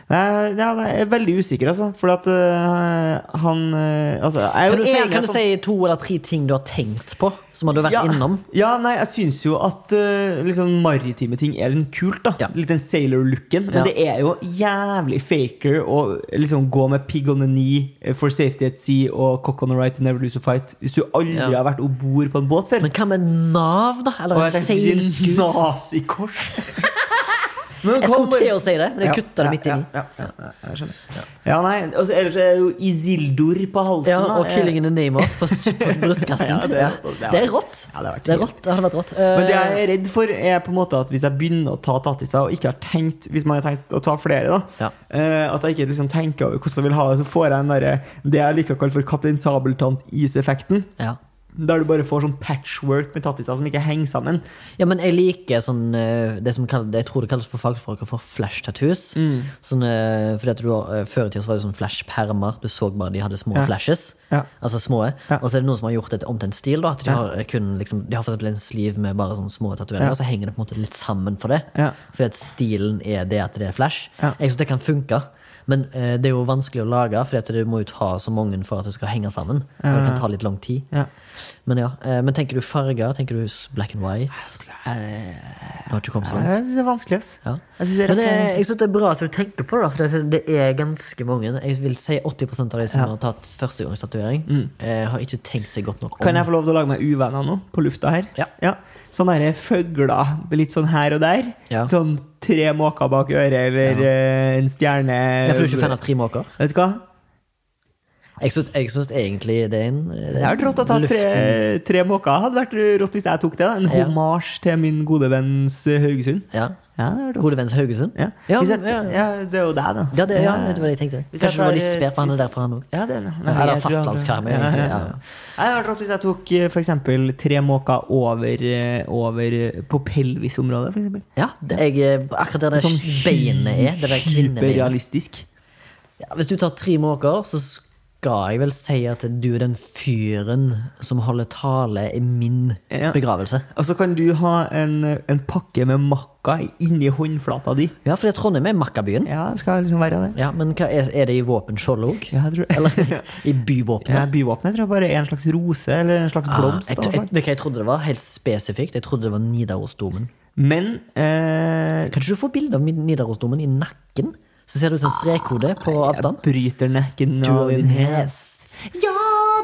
Speaker 2: Nei, ja, nei, jeg er veldig usikker, altså. For at eh, han eh, Altså, jeg er jo
Speaker 3: Kan du, si,
Speaker 2: enig
Speaker 3: kan
Speaker 2: at
Speaker 3: du
Speaker 2: han-
Speaker 3: si to eller tre ting du har tenkt på, som har du vært
Speaker 2: ja,
Speaker 3: innom?
Speaker 2: Ja, nei, jeg syns jo at eh, liksom maritime ting er litt kult, da.
Speaker 3: Ja.
Speaker 2: Litt den sailor-looken. Men
Speaker 3: Ja.
Speaker 2: det er jo jævlig faker å liksom gå med pig on the knee eh, for safety at sea og cock on the right to never lose a fight hvis du aldri
Speaker 3: Ja.
Speaker 2: har vært om bord på en båt før.
Speaker 3: Men hva med Nav, da?
Speaker 2: og
Speaker 3: Eller en
Speaker 2: jeg tenkte å si
Speaker 3: seilskut?
Speaker 2: nazikors. Men
Speaker 3: Jeg
Speaker 2: kom,
Speaker 3: skulle til
Speaker 2: Mar-
Speaker 3: å si det, men jeg kutta det midt inni.
Speaker 2: Ja, ja, ja, ja, jeg skjønner. Ja, nei, altså, ellers er det jo Isildor på halsen.
Speaker 3: Ja, og
Speaker 2: da.
Speaker 3: 'Killing in the Name of' på, på brystkassen.
Speaker 2: Ja, det er-
Speaker 3: Ja, det er rått.
Speaker 2: Ja, det har vært
Speaker 3: Det er rått, det hadde vært rått. Eh,
Speaker 2: Men det jeg er redd for, er på en måte at hvis jeg begynner å ta tattiser, og ikke har tenkt Hvis man har tenkt å ta flere, da
Speaker 3: Ja.
Speaker 2: eh, At jeg ikke liksom tenker over hvordan jeg vil ha det, så får jeg den derre det jeg liker å kalle for Kaptein Sabeltann-iseffekten.
Speaker 3: ja.
Speaker 2: Der du bare får sånn patchwork med tattiser som ikke henger sammen.
Speaker 3: Ja, men jeg liker sånn eh, det som kalles, jeg tror det kalles på fagspråket for flash tattoos.
Speaker 2: Mm.
Speaker 3: Sånn, eh, fordi at du, har- eh, før i tida så var det sånn flash-permer. Du så bare de hadde små
Speaker 2: Ja.
Speaker 3: flashes.
Speaker 2: Ja.
Speaker 3: Altså små.
Speaker 2: Ja.
Speaker 3: Og så er det noen som har gjort det om til en stil. da, at De har eh, kun liksom, de har for eksempel en sliv med bare sånne små tatoveringer,
Speaker 2: Ja.
Speaker 3: og så henger det på en måte litt sammen for det.
Speaker 2: Ja.
Speaker 3: Fordi at stilen er det at det er flash.
Speaker 2: Ja.
Speaker 3: Jeg synes det kan funke. Men eh, det er jo vanskelig å lage, for at du må jo ta så mange for at det skal henge sammen. Og det kan ta litt lang tid.
Speaker 2: Ja.
Speaker 3: Men ja, eh, men tenker du farger? Tenker du s- black and white? Nå har du ikke kommet så langt.
Speaker 2: Jeg syns det er vanskelig, ass.
Speaker 3: Ja.
Speaker 2: Jeg synes det er
Speaker 3: Men
Speaker 2: rett
Speaker 3: det,
Speaker 2: og slett
Speaker 3: jeg synes det er bra at du tenker på det, for det, det er ganske mange. Jeg vil si 80 av de som har tatt førstegangstatuering, eh, har ikke tenkt seg godt nok om.
Speaker 2: Mm. Kan jeg få lov til å lage meg uvenner nå, på lufta her?
Speaker 3: Ja.
Speaker 2: Sånne her føgler, litt sånn her og der.
Speaker 3: Ja.
Speaker 2: Sånn tre måker bak øret, eller eh, en stjerne
Speaker 3: Jeg er ikke fan av tre måker.
Speaker 2: Vet du hva?
Speaker 3: Jeg synes, jeg synes egentlig det er en eh,
Speaker 2: Det hadde vært rått å ta tre,
Speaker 3: luftens-
Speaker 2: tre måker. Hadde vært rått hvis jeg tok det. da. En
Speaker 3: Ja.
Speaker 2: hommage til min gode venns eh, Haugesund.
Speaker 3: Ja.
Speaker 2: Ja, det hadde vært rått.
Speaker 3: Gode venns Haugesund?
Speaker 2: Ja.
Speaker 3: Ja,
Speaker 2: Hvis jeg,
Speaker 3: ja.
Speaker 2: ja. det er jo deg, da.
Speaker 3: Ja, det, ja, vet du hva jeg tenkte?
Speaker 2: Hvis jeg
Speaker 3: Kanskje du var
Speaker 2: tar,
Speaker 3: litt
Speaker 2: eh,
Speaker 3: spert på han
Speaker 2: hvis-
Speaker 3: er derfor han også.
Speaker 2: Ja, det er det.
Speaker 3: Ja, det er
Speaker 2: jeg tror jeg-
Speaker 3: fastlandskarme,
Speaker 2: Ja,
Speaker 3: egentlig,
Speaker 2: ja,
Speaker 3: ja,
Speaker 2: ja.
Speaker 3: ja.
Speaker 2: Nei, Det hadde vært rått hvis jeg tok eh, for eksempel tre måker over, eh, over eh, på pelvisområdet, for eksempel.
Speaker 3: Ja, jeg, eh, akkurat der det
Speaker 2: Sånn
Speaker 3: beinet er. Det der kvinnebenet.
Speaker 2: Hyperrealistisk.
Speaker 3: Ja, hvis du tar tre måker, så skal jeg vel si at du er den fyren som holder tale i min
Speaker 2: Ja.
Speaker 3: begravelse.
Speaker 2: Og så kan du ha en, en pakke med makka inni håndflata di.
Speaker 3: Ja, fordi Trondheim er Makkabyen.
Speaker 2: Ja, det skal liksom være det.
Speaker 3: Ja, men hva er, er det i våpenskjoldet òg?
Speaker 2: Ja, jeg tror,
Speaker 3: Eller i byvåpenet?
Speaker 2: ja, byvåpenet tror jeg bare er en slags rose eller en slags
Speaker 3: Ah,
Speaker 2: blomst.
Speaker 3: jeg,
Speaker 2: av
Speaker 3: jeg,
Speaker 2: noe
Speaker 3: vet
Speaker 2: slag.
Speaker 3: du hva jeg trodde det var? Helt spesifikt. Jeg trodde det var Nidarosdomen.
Speaker 2: Men eh,
Speaker 3: Kan ikke du få bilde av Nidarosdomen i nakken? Så ser det ut som strekhode
Speaker 2: Ah,
Speaker 3: på avstand.
Speaker 2: bryter nekken av din hest. Jeg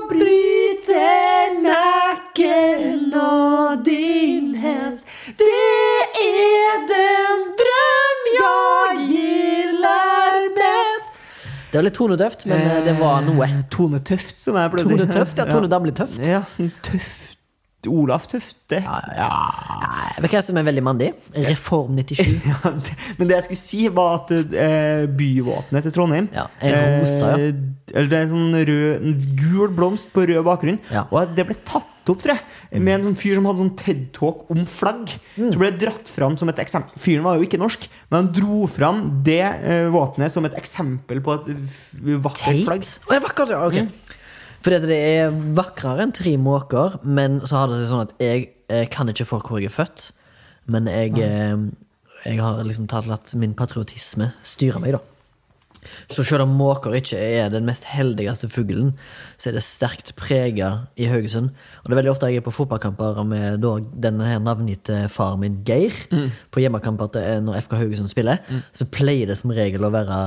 Speaker 2: bryter nakken av din hest. Det er den drøm jeg gilder mest.
Speaker 3: Det var litt tonedøvt, men eh, det var noe.
Speaker 2: Tone Tøft, som jeg pleier å si.
Speaker 3: Tone Tøft, ja. Tone Damli Tøft.
Speaker 2: Ja, Tøft. Olaf Tøfte. Ja,
Speaker 3: Vet du hva som er veldig mandig? Reform 97.
Speaker 2: det- Men det jeg skulle si, var at eh, byvåpenet til Trondheim
Speaker 3: Ja, en rosa, ja.
Speaker 2: eh, Eller det er en sånn rød, en gul blomst på rød bakgrunn.
Speaker 3: Ja.
Speaker 2: Og at det ble tatt opp, tror jeg, med en sånn fyr som hadde sånn TED-talk om flagg.
Speaker 3: Mm.
Speaker 2: Så ble det dratt fram som et eksempel. Fyren var jo ikke norsk, men han dro fram det eh, våpenet som et eksempel på et f- vakkert flagg.
Speaker 3: Å, ja, vakkert, ja, ok. Mm. Fordi at det er vakrere enn tre måker, men så har det seg sånn at jeg eh, kan ikke for hvor jeg er født. Men jeg, eh, jeg har liksom tatt latt min patriotisme styre meg, da. Så selv om måker ikke er den mest heldigste fuglen, så er det sterkt prega i Haugesund. Og det er veldig ofte jeg er på fotballkamper med da, denne her navngitte faren min, Geir. På hjemmekamper til, eh, når FK Haugesund spiller, så pleier det som regel å være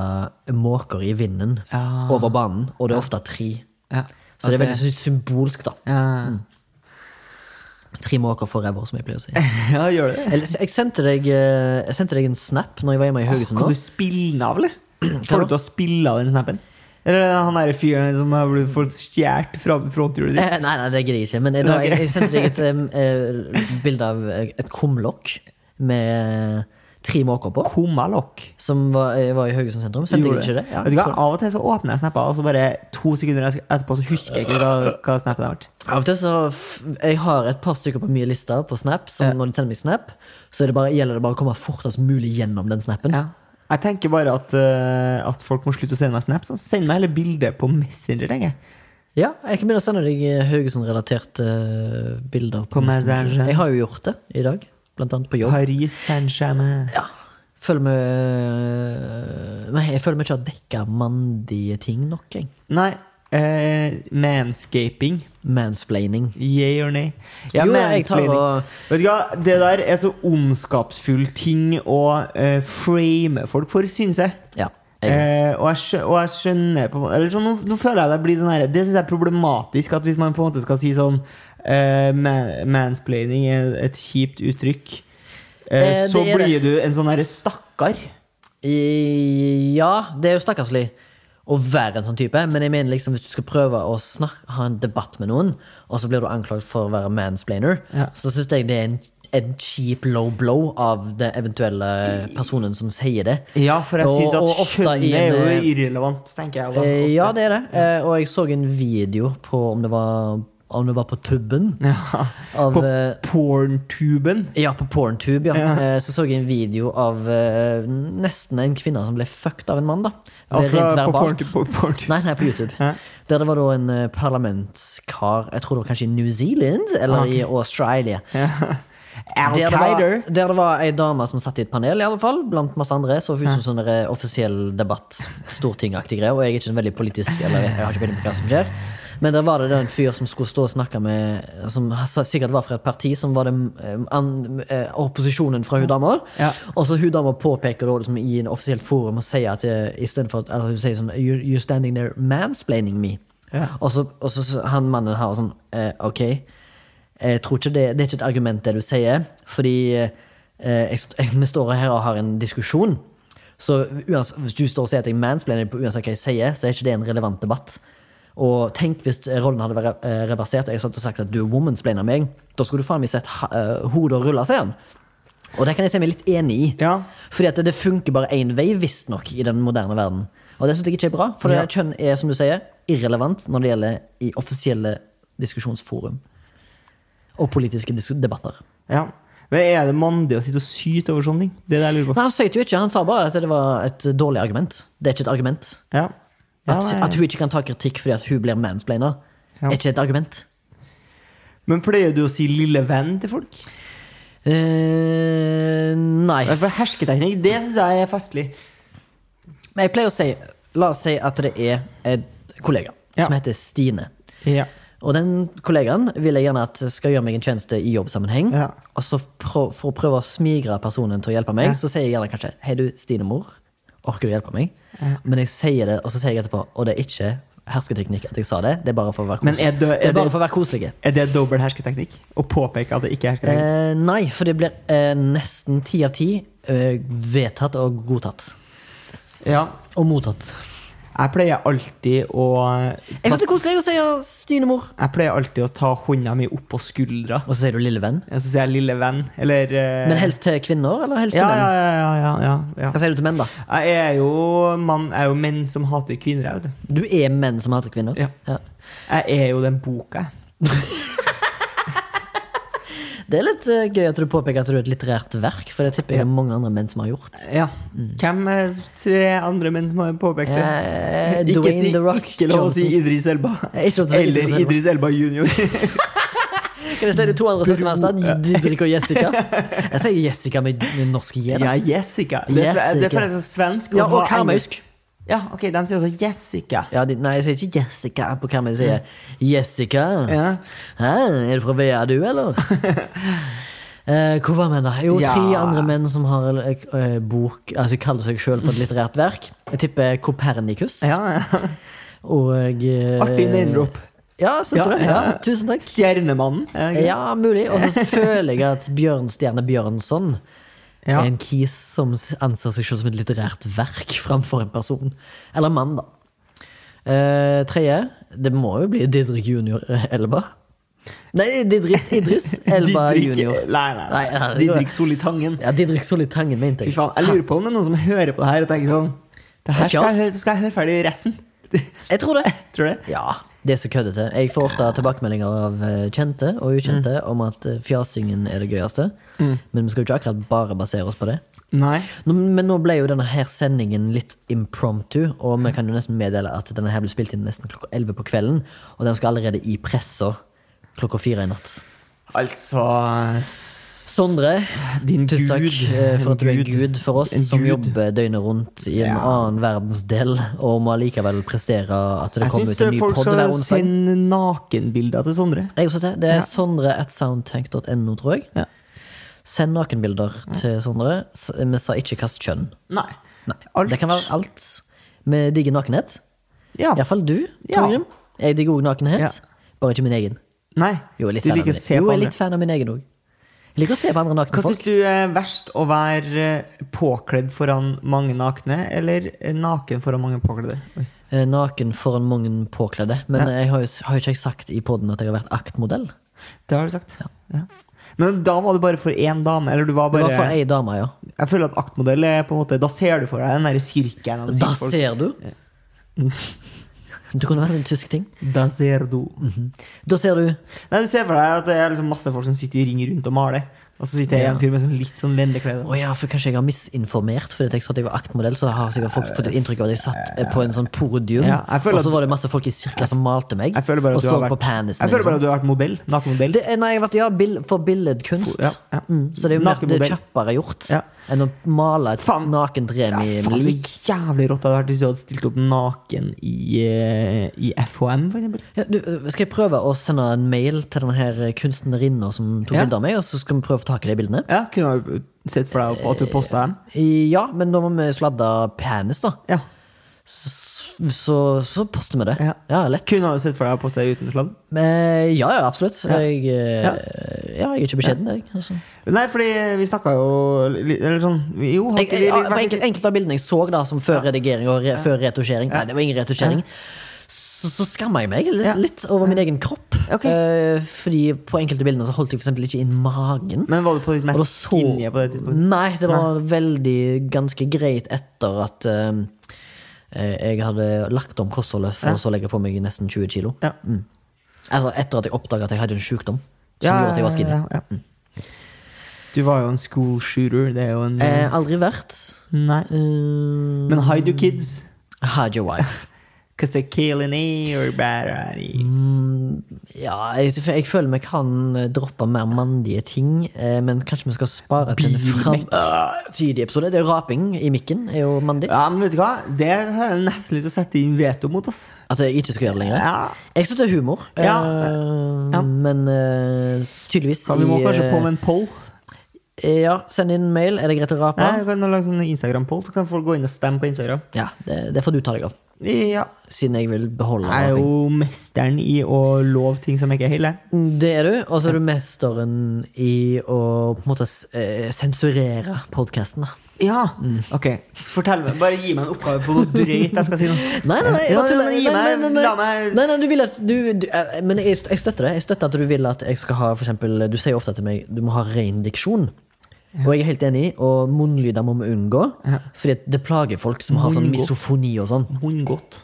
Speaker 3: måker i vinden
Speaker 2: Ja.
Speaker 3: over banen, og det er ofte tre.
Speaker 2: Ja.
Speaker 3: Så det er veldig Mm. symbolsk, da.
Speaker 2: Ja.
Speaker 3: Tre måker forever, som jeg pleier å si.
Speaker 2: ja, gjør det det?
Speaker 3: Eller, Jeg sendte deg, eh, jeg sendte deg en snap når jeg var hjemme i Haugesund
Speaker 2: Kan
Speaker 3: nå.
Speaker 2: du spille den av, eller?
Speaker 3: Hva
Speaker 2: Får
Speaker 3: da?
Speaker 2: du til å spille av den snappen? Eller han derre fyren som har blitt fått stjålet fra fronthjulet ditt?
Speaker 3: Eh, nei, nei, det gidder jeg ikke. Men eh, da, jeg, jeg sendte deg et em, eh, bilde av eh, et kumlokk med tre måker på.
Speaker 2: Kommalokk.
Speaker 3: Som var, eh, var i Haugesund sentrum. Sendte jeg
Speaker 2: Gjorde
Speaker 3: Eh. ikke
Speaker 2: det.
Speaker 3: det? Ja,
Speaker 2: Vet du hva?
Speaker 3: jeg tror-
Speaker 2: Av og til så åpner jeg snapper, og så bare to sekunder etterpå så husker jeg ikke hva, hva snappen har vært.
Speaker 3: Av og til så f- Jeg har et par stykker på mye lister på Snap, så når de sender meg Snap, så er det bare, gjelder det bare å komme fortest mulig gjennom den snappen.
Speaker 2: Ja. Jeg tenker bare at, eh, at folk må slutte å sende meg snaps. Så send meg heller bilde på Messenger, tenker jeg.
Speaker 3: Ja, jeg kan begynne å sende deg eh, Haugesund-relaterte eh, bilder.
Speaker 2: På Messenger.
Speaker 3: Jeg har jo gjort det i dag, blant annet på jobb.
Speaker 2: Paris Saint-Germain.
Speaker 3: Ja. Føler meg Nei, jeg føler meg ikke har dekka mandige ting nok, jeg.
Speaker 2: Nei. Eh, manscaping.
Speaker 3: Mansplaining.
Speaker 2: Yeah or nay? Ja,
Speaker 3: Jo, jeg tar
Speaker 2: mansplaining.
Speaker 3: og-
Speaker 2: Vet du hva, Det der er så ondskapsfull ting å eh, frame folk for, synes jeg.
Speaker 3: Ja. Jeg,
Speaker 2: Eh, og, jeg skjø- og jeg skjønner på en måte eller sånn, nå, nå føler jeg det blir den her, Det syns jeg er problematisk. At hvis man på en måte skal si sånn eh, ma- Mansplaining er et kjipt uttrykk. Eh,
Speaker 3: Eh,
Speaker 2: så
Speaker 3: det er
Speaker 2: blir du en sånn herre stakkar.
Speaker 3: I- ja, det er jo stakkarslig å være en sånn type, men jeg mener liksom hvis du skal prøve å snakke, ha en debatt med noen, og så blir du anklaget for å være mansplainer,
Speaker 2: Ja.
Speaker 3: så syns jeg det er en en kjip low blow av den eventuelle personen som sier det.
Speaker 2: Ja, for jeg
Speaker 3: Og-
Speaker 2: syns
Speaker 3: og
Speaker 2: at
Speaker 3: ofte i
Speaker 2: kjønnet
Speaker 3: en,
Speaker 2: er Eh,
Speaker 3: eh,
Speaker 2: jo irrelevant, tenker jeg. da.
Speaker 3: Eh, Ja, det er det. Eh, Og jeg så en video på om det var om det var på tubben
Speaker 2: Ja.
Speaker 3: av
Speaker 2: På
Speaker 3: eh,
Speaker 2: porntuben.
Speaker 3: Ja, på Porntube, ja.
Speaker 2: Ja.
Speaker 3: Eh, Så så jeg en video av eh, nesten en kvinne som ble fucked av en mann, da. Det er
Speaker 2: Altså
Speaker 3: rent
Speaker 2: på
Speaker 3: verbalt.
Speaker 2: porntu- på porntuben.
Speaker 3: Nei, nei, på YouTube.
Speaker 2: Ja.
Speaker 3: Der det var da en eh, parlamentskar Jeg tror det var kanskje i New Zealand
Speaker 2: Ah,
Speaker 3: eller i Australia.
Speaker 2: Al
Speaker 3: Der det, var,
Speaker 2: Qaida.
Speaker 3: der det var ei dame som satt i et panel, i alle fall, blant masse andre. Så ut som sånn der, eh, offisiell debatt, stortingaktig greier. Og jeg er ikke sånn veldig politisk, eller jeg har ikke peiling på hva som skjer. Men der var det da en fyr som skulle stå og snakke med Som s- sikkert var fra et parti som var den eh, an, eh, opposisjonen fra hun dama.
Speaker 2: Ja.
Speaker 3: Og så hun dama påpeker da liksom i en offisielt forum og sier at eh, i stedet for at eller hun sier sånn you're, you're standing there mansplaining me.
Speaker 2: Ja.
Speaker 3: Og så, og så så han mannen her sånn eh, OK, jeg tror ikke det, det er ikke et argument det du sier, fordi eh, jeg, st- jeg, vi står her og har en diskusjon. Så uans, hvis du står og sier at jeg mansplainer på uansett hva jeg sier, så er ikke det en relevant debatt. Og tenk hvis rollen hadde vært eh, reversert, og jeg satt og sagt at du womansplainer meg. Da skulle du faen meg sett ha- eh, hodet rulle, sier han. Og det kan jeg si meg litt enig i.
Speaker 2: Ja.
Speaker 3: Fordi at det funker bare én vei, visstnok, i den moderne verden. Og det syns jeg ikke er bra, for det kjønn er, som du sier, irrelevant når det gjelder i offisielle diskusjonsforum. Og politiske dis debatter.
Speaker 2: Ja. Men er det mandig å sitte og syte over sånne ting? Det er det jeg lurer på.
Speaker 3: Nei, Han søyte jo ikke, han sa bare at det var et dårlig argument. Det er ikke et argument.
Speaker 2: Ja. Ja,
Speaker 3: At,
Speaker 2: nei.
Speaker 3: at hun ikke kan ta kritikk fordi at hun blir mansplainer,
Speaker 2: Ja.
Speaker 3: er ikke et argument.
Speaker 2: Men pleier du å si 'lille venn' til folk?
Speaker 3: Eh, nei.
Speaker 2: Nei, For hersketeknikk, det syns jeg er festlig.
Speaker 3: Men jeg pleier å si La oss si at det er en kollega
Speaker 2: Ja.
Speaker 3: som heter Stine.
Speaker 2: Ja.
Speaker 3: Og den kollegaen vil jeg gjerne at skal gjøre meg en tjeneste i jobbsammenheng.
Speaker 2: Ja.
Speaker 3: Og så prø- for å prøve å smigre personen til å hjelpe meg,
Speaker 2: Ja.
Speaker 3: så sier jeg gjerne kanskje Hei, du, Stine-mor. Orker du hjelpe meg? Men jeg sier det, og så sier jeg etterpå Og det er ikke hersketeknikk at jeg sa det. Det er bare for å være
Speaker 2: Men
Speaker 3: koselig.
Speaker 2: er det,
Speaker 3: Det
Speaker 2: er,
Speaker 3: er bare
Speaker 2: det,
Speaker 3: for å være koselige.
Speaker 2: er det dobbel hersketeknikk? Å påpeke at det ikke er hersketeknikk?
Speaker 3: Eh, nei, for det blir eh, nesten ti av ti eh, vedtatt og godtatt. Eh.
Speaker 2: Ja.
Speaker 3: Og mottatt.
Speaker 2: Jeg pleier alltid å
Speaker 3: Jeg synes det er koselig å si ja, Stine-mor.
Speaker 2: Jeg pleier alltid å ta hånda mi opp på skuldra.
Speaker 3: Og så sier du lille venn.
Speaker 2: Og så sier jeg 'lille venn', eller eh,
Speaker 3: Men helst til kvinner, eller helst til
Speaker 2: ja,
Speaker 3: menn?
Speaker 2: ja, ja, ja, ja, ja, ja.
Speaker 3: Hva sier du til menn, da?
Speaker 2: Jeg er jo mann, jeg er jo menn som hater kvinner, jeg, vet du.
Speaker 3: Du er menn som hater kvinner?
Speaker 2: Ja. Jeg er jo den boka, jeg.
Speaker 3: Det er litt eh, gøy at du påpeker at du er et litterært verk, for det tipper jeg det er mange andre menn som har gjort.
Speaker 2: Ja. Hvem er tre andre menn som har påpekt det?
Speaker 3: Eh,
Speaker 2: Ikke,
Speaker 3: Dwayne
Speaker 2: si,
Speaker 3: The Rock
Speaker 2: ikke lov å si
Speaker 3: Johnson.
Speaker 2: Idris Elba.
Speaker 3: Eh, ikke lov til å si
Speaker 2: Eller
Speaker 3: Idris Elba.
Speaker 2: Idris Elba junior.
Speaker 3: Kan jeg si de to andre søstrene hans? da? Didrik og Jessica. Jeg sier Jessica med med norsk J. da.
Speaker 2: ja, Jessica. Det er, sve-
Speaker 3: Jessica.
Speaker 2: det er forresten svensk.
Speaker 3: Ja, og
Speaker 2: så engelsk.
Speaker 3: karmøysk.
Speaker 2: Ja, ok, de sier også Jessica.
Speaker 3: Ja, de, nei, jeg sier ikke Jessica på hva jeg sier. Jessica.
Speaker 2: Ja.
Speaker 3: Hæ, er du fra VEA, du, eller? Eh, hvor var vi, da? Jo, tre
Speaker 2: Ja.
Speaker 3: andre menn som har eh, eh, bok Altså kaller seg sjøl for et litterært verk. Jeg tipper Kopernikus.
Speaker 2: Ja, ja.
Speaker 3: Og eh,
Speaker 2: Artig name-drop.
Speaker 3: Ja, syns
Speaker 2: Ja,
Speaker 3: du det? Ja,
Speaker 2: ja.
Speaker 3: tusen takk.
Speaker 2: Stjernemannen. er det ikke det?
Speaker 3: Ja, mulig. Og så føler jeg at Bjørnstjerne Bjørnson
Speaker 2: Ja.
Speaker 3: er en kis som anser seg selv som et litterært verk framfor en person. Eller mann, da. Eh, tredje. Det må jo bli Didrik junior eh, Elba. Nei, Didris Idris Elba
Speaker 2: Didrik-
Speaker 3: junior.
Speaker 2: Nei, nei, nei.
Speaker 3: Nei, nei, det går-
Speaker 2: Didrik Solitangen.
Speaker 3: Ja, Didrik Solli Tangen, mente
Speaker 2: Fy
Speaker 3: jeg.
Speaker 2: faen, jeg lurer på om det er noen som hører på det her og tenker sånn Det her skal
Speaker 3: Fjas.
Speaker 2: jeg, hø- skal jeg høre ferdig resten.
Speaker 3: Jeg tror det.
Speaker 2: Tror du det?
Speaker 3: Ja, det er så køddete. Jeg får ofte tilbakemeldinger av eh, kjente og ukjente
Speaker 2: Mm.
Speaker 3: om at eh, fjasingen er det gøyeste. Men vi skal jo ikke akkurat bare basere oss på det.
Speaker 2: Nei.
Speaker 3: Nå, men nå ble jo denne her sendingen litt impromptu, og
Speaker 2: Mm.
Speaker 3: vi kan jo nesten meddele at denne her ble spilt inn nesten klokka 11 på kvelden, og den skal allerede i pressa klokka fire i natt.
Speaker 2: Altså s-
Speaker 3: Sondre,
Speaker 2: Din
Speaker 3: tusen takk
Speaker 2: gud.
Speaker 3: eh, for at du er
Speaker 2: En
Speaker 3: en gud for oss
Speaker 2: En
Speaker 3: som
Speaker 2: gud.
Speaker 3: jobber døgnet rundt i en
Speaker 2: Ja.
Speaker 3: annen verdensdel, og må allikevel prestere at det
Speaker 2: Jeg
Speaker 3: kommer ut
Speaker 2: syns
Speaker 3: en ny
Speaker 2: folk
Speaker 3: podd hver
Speaker 2: skal
Speaker 3: onsdag.
Speaker 2: sende nakenbilder til Sondre.
Speaker 3: Jeg også til. Det er
Speaker 2: Ja.
Speaker 3: sondre at soundtank.no, tror jeg.
Speaker 2: Ja.
Speaker 3: Send nakenbilder til Sondre. S- Vi sa ikke hvilket kjønn.
Speaker 2: Nei.
Speaker 3: Nei.
Speaker 2: Alt.
Speaker 3: Det kan være alt. Vi digger nakenhet.
Speaker 2: Ja.
Speaker 3: Iallfall du,
Speaker 2: Ah. Ja.
Speaker 3: Torgrim. Jeg digger òg nakenhet.
Speaker 2: Ja.
Speaker 3: Bare ikke min egen.
Speaker 2: Nei.
Speaker 3: Jo, jeg er litt
Speaker 2: du
Speaker 3: fan av
Speaker 2: liker
Speaker 3: min
Speaker 2: å se
Speaker 3: jo,
Speaker 2: på
Speaker 3: jeg er
Speaker 2: andre.
Speaker 3: litt fan av min egen òg. Jeg liker å se på andre nakne
Speaker 2: Hva syns
Speaker 3: folk.
Speaker 2: du er verst? Å være eh, påkledd foran mange nakne, eller eh, naken foran mange påkledde? Oi.
Speaker 3: Eh, Naken foran mange påkledde. Men eh, jeg har jo, s- har jo ikke jeg sagt i poden at jeg har vært aktmodell.
Speaker 2: Det har du sagt. Ja. Men da var det bare for én dame. Eller du var
Speaker 3: Det
Speaker 2: bare
Speaker 3: var for ei dame, ja.
Speaker 2: Jeg føler at aktmodell er på en måte Da ser du for deg den derre sirkelen. av
Speaker 3: Da
Speaker 2: sirkfolk.
Speaker 3: ser du. Det kunne vært en tysk ting.
Speaker 2: Da ser du.
Speaker 3: Da ser du
Speaker 2: Nei, du ser for deg at det er liksom masse folk som sitter i ring rundt og maler. Og så sitter jeg i en fyr med sånn litt sånn venneklede.
Speaker 3: Å ja, for kanskje jeg har misinformert fordi at jeg sa at jeg var aktmodell, så har sikkert folk fått et inntrykk av at jeg satt eh, på en sånn podium,
Speaker 2: Ja, jeg føler
Speaker 3: og så
Speaker 2: at-
Speaker 3: var det masse folk i sirkler som malte meg,
Speaker 2: Jeg føler bare
Speaker 3: og
Speaker 2: at du
Speaker 3: så
Speaker 2: har
Speaker 3: på
Speaker 2: vært,
Speaker 3: penisen.
Speaker 2: jeg føler
Speaker 3: liksom.
Speaker 2: bare at du har vært modell. Nakenmodell.
Speaker 3: det, eh, nei, jeg vet, ja, bill, for billedkunst.
Speaker 2: For- ja, ja.
Speaker 3: Mm, så det er jo mer, det er
Speaker 2: Nakenmodell.
Speaker 3: kjappere gjort
Speaker 2: Ja.
Speaker 3: enn å male et
Speaker 2: Faen.
Speaker 3: nakent
Speaker 2: Ja,
Speaker 3: remi
Speaker 2: faen, så
Speaker 3: lik.
Speaker 2: jævlig rått det hadde vært hvis du hadde stilt opp naken i, eh, i FHM, for eksempel.
Speaker 3: Ja, du, eh, skal jeg prøve å sende en mail til denne her kunstnerinna som tok
Speaker 2: Ja.
Speaker 3: bilder av meg, og så skal vi prøve å få tak i de bildene?
Speaker 2: Ja, kunne du sett for deg at du posta dem?
Speaker 3: Ja, men da må vi sladde penis, da.
Speaker 2: Ja.
Speaker 3: Så, så, så poster vi det.
Speaker 2: Ja.
Speaker 3: ja lett.
Speaker 2: Kunne du sett for deg å poste uten sladd?
Speaker 3: Eh, ja, ja, absolutt. Jeg, eh,
Speaker 2: Ja.
Speaker 3: ja, jeg er ikke beskjeden, jeg. Altså.
Speaker 2: Nei, fordi vi snakka jo li- Eller sånn Jo, har
Speaker 3: jeg,
Speaker 2: ikke
Speaker 3: jeg,
Speaker 2: vi
Speaker 3: ja,
Speaker 2: vært
Speaker 3: på
Speaker 2: litt-
Speaker 3: enkelt, enkelte av bildene jeg så, da som før redigering og re, før retusjering Nei, det var ingen retusjering. Så, så skammer jeg meg litt,
Speaker 2: Ja.
Speaker 3: litt over min egen kropp.
Speaker 2: Ok.
Speaker 3: Eh, fordi på enkelte bildene så holdt jeg for eksempel ikke inn magen.
Speaker 2: Men var du på ditt
Speaker 3: Og da
Speaker 2: mest
Speaker 3: så-
Speaker 2: skinny på det tidspunktet?
Speaker 3: Nei, det var veldig ganske greit etter at eh, jeg hadde lagt om kostholdet for
Speaker 2: Ja.
Speaker 3: å så legge på meg nesten 20 kilo.
Speaker 2: Ja.
Speaker 3: Altså etter at jeg oppdaga at jeg hadde en sjukdom som
Speaker 2: Ja,
Speaker 3: gjorde at jeg var skinny.
Speaker 2: ja, ja. Du var jo en school shooter. Det er jo en
Speaker 3: Eh, aldri vært.
Speaker 2: Nei.
Speaker 3: Uh,
Speaker 2: Men hide your kids.
Speaker 3: Hide your wife.
Speaker 2: Cause they're killing everybody.
Speaker 3: Mm, Ja, jeg, jeg føler vi kan droppe mer mandige ting, eh, men kanskje vi skal spare til en
Speaker 2: Bilmekk.
Speaker 3: framtidig episode. Det er raping i mikken er jo mandig.
Speaker 2: Ja, men vet du hva? Det har jeg nesten lyst til å sette inn veto mot. ass
Speaker 3: At Altså, jeg ikke skal gjøre det lenger.
Speaker 2: Ja.
Speaker 3: Jeg syns det er humor, eh,
Speaker 2: Ja. Ja.
Speaker 3: men eh, tydeligvis
Speaker 2: Så vi må
Speaker 3: i,
Speaker 2: kanskje
Speaker 3: eh,
Speaker 2: på med en poll.
Speaker 3: eh, Ja, send inn mail. Er det greit å rape?
Speaker 2: Nei, vi kan lage sånn Instagram-poll, så kan folk gå inn og stemme på Instagram.
Speaker 3: Ja, det, det får du ta deg av,
Speaker 2: Ja.
Speaker 3: siden jeg vil beholde
Speaker 2: Jeg er
Speaker 3: raping.
Speaker 2: jo mesteren i å love ting som ikke er hele.
Speaker 3: Det er du, og så er du mesteren i å på en måte s- eh, sensurere podkasten.
Speaker 2: Ja! Mm. Ok, fortell meg. Bare gi meg en oppgave på noe drøyt jeg skal si nå.
Speaker 3: Nei, nei, nei, jeg
Speaker 2: Ja,
Speaker 3: bare
Speaker 2: ja,
Speaker 3: tuller.
Speaker 2: men
Speaker 3: nei, nei,
Speaker 2: gi meg-
Speaker 3: nei, nei,
Speaker 2: la meg-
Speaker 3: nei, nei, du vil at du, du eh, Men jeg, jeg støtter det. Jeg støtter at du vil at jeg skal ha for eksempel, Du sier ofte til meg du må ha ren diksjon. Og jeg er helt enig, og munnlyder må vi unngå. Fordi det plager folk som har sånn
Speaker 2: Unngå.
Speaker 3: misofoni og sånn.
Speaker 2: Hundgodt.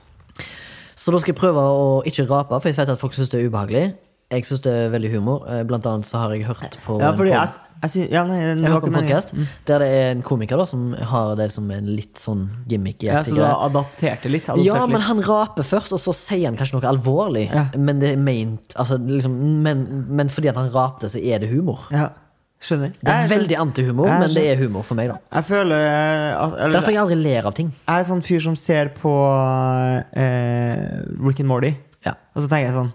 Speaker 3: Så da skal jeg prøve å ikke rape, for jeg vet at folk syns det er ubehagelig. Jeg syns det er veldig humor. Eh, Blant annet så har jeg hørt på
Speaker 2: Ja,
Speaker 3: en
Speaker 2: fordi
Speaker 3: pod-
Speaker 2: jeg, jeg sy- Ja, nei, det
Speaker 3: Jeg
Speaker 2: var
Speaker 3: hører på
Speaker 2: ikke
Speaker 3: en
Speaker 2: meningen.
Speaker 3: podcast der det er en komiker da som har det som en litt sånn gimmick.
Speaker 2: Ja, så du har adaptert det litt? Adaptert
Speaker 3: ja, men
Speaker 2: litt.
Speaker 3: han raper først, og så sier han kanskje noe alvorlig.
Speaker 2: Ja.
Speaker 3: Men det er meint altså, liksom, men, men fordi at han rapte, så er det humor.
Speaker 2: Ja, skjønner.
Speaker 3: Det er
Speaker 2: Jeg-
Speaker 3: veldig antihumor,
Speaker 2: Jeg
Speaker 3: men det er humor for meg, da.
Speaker 2: Jeg føler eh, at, eller,
Speaker 3: Derfor jeg aldri ler av ting.
Speaker 2: Jeg er sånn fyr som ser på eh, Rick and Morty,
Speaker 3: Ja.
Speaker 2: og så tenker jeg sånn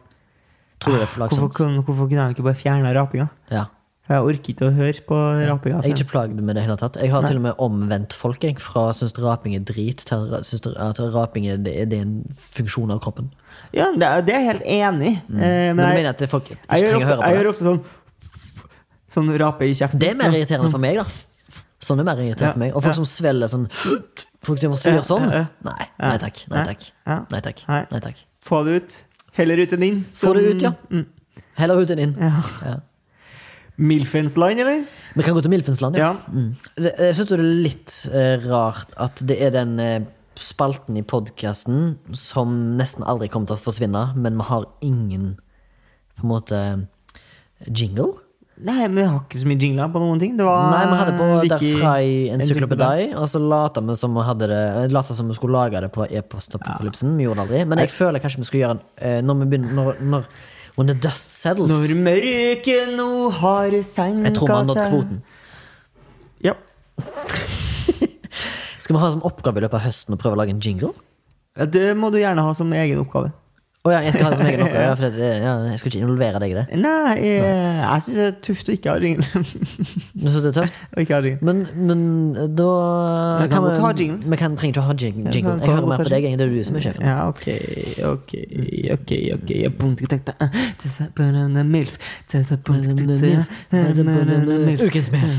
Speaker 3: Tror det er
Speaker 2: Ah, Hvorfor,
Speaker 3: plagsomt.
Speaker 2: kunne- hvorfor kunne de ikke bare fjerna rapinga?
Speaker 3: Ja.
Speaker 2: Jeg orker ikke å høre på rapinga.
Speaker 3: Jeg er ikke plagd med det i det hele tatt. Jeg har til og med omvendt folk jeg, fra syns raping er drit, til ra- syns at raping er, det er en funksjon av kroppen.
Speaker 2: Ja, det, er- det er jeg helt enig i. Eh,
Speaker 3: Mm. Men
Speaker 2: men
Speaker 3: du
Speaker 2: jeg,
Speaker 3: mener at folk ikke
Speaker 2: jeg, gjør
Speaker 3: trenger å
Speaker 2: ofte,
Speaker 3: høre på
Speaker 2: jeg gjør
Speaker 3: det?
Speaker 2: ofte sånn Sånn rape i kjeften.
Speaker 3: Det er mer
Speaker 2: Ja.
Speaker 3: irriterende for meg, da. Sånn er mer irriterende
Speaker 2: Ja.
Speaker 3: for meg. Og folk
Speaker 2: Ja.
Speaker 3: som svelger sånn Folk som gjør sånn.
Speaker 2: Ja.
Speaker 3: Nei. Nei takk. Nei takk.
Speaker 2: Ja.
Speaker 3: Nei takk.
Speaker 2: Nei.
Speaker 3: Nei takk.
Speaker 2: Få det ut. Heller ut enn inn.
Speaker 3: Få det ut,
Speaker 2: Sånn-
Speaker 3: ja. Heller ut enn inn. Ja.
Speaker 2: Milfens land, eller?
Speaker 3: Vi kan gå til Milfens land, ja.
Speaker 2: Ja.
Speaker 3: Mm. Det- Jeg syns det er litt eh, rart at det er den eh, spalten i podkasten som nesten aldri kommer til å forsvinne, men vi har ingen på en måte jingle.
Speaker 2: Nei, men vi har ikke så mye jingler på noen ting. Det var
Speaker 3: Nei, vi hadde på
Speaker 2: Vicky-
Speaker 3: derfra i
Speaker 2: Encyklopedi.
Speaker 3: Encyklopedi, og så lata vi som vi hadde det eh, lata som vi skulle lage det på e-postapokalypsen. Vi gjorde det aldri. Men jeg føler kanskje vi skulle gjøre en eh, når vi begynner når, når When the dust settles.
Speaker 2: Når mørket nå har senka
Speaker 3: jeg tror vi har nådd kvoten.
Speaker 2: Ja.
Speaker 3: Skal vi ha som oppgave i løpet av høsten å prøve å lage en jingle?
Speaker 2: Ja, Det må du gjerne ha som egen oppgave.
Speaker 3: Å ja, jeg skal ha det som egen oppgave. Ja, for det, ja, jeg skal ikke involvere deg i det.
Speaker 2: Nei, jeg, jeg syns det er tøft å ikke ha jingle.
Speaker 3: Du synes det er tøft?
Speaker 2: Å ikke ha jingle.
Speaker 3: Men, men eh, da
Speaker 2: Vi kan godt ha jingle.
Speaker 3: Vi kan, trenger ikke å ha jing-
Speaker 2: vi
Speaker 3: jingle.
Speaker 2: kan
Speaker 3: Jeg hører
Speaker 2: godt
Speaker 3: mer
Speaker 2: ha
Speaker 3: på deg, egentlig. det er du som er sjefen.
Speaker 2: Ja, ok, ok, ok. ok Jeg punkter ikke tekta. Tessa på denne milf. Tessa på denne tekta. Denne milf.
Speaker 3: Ukens MILF.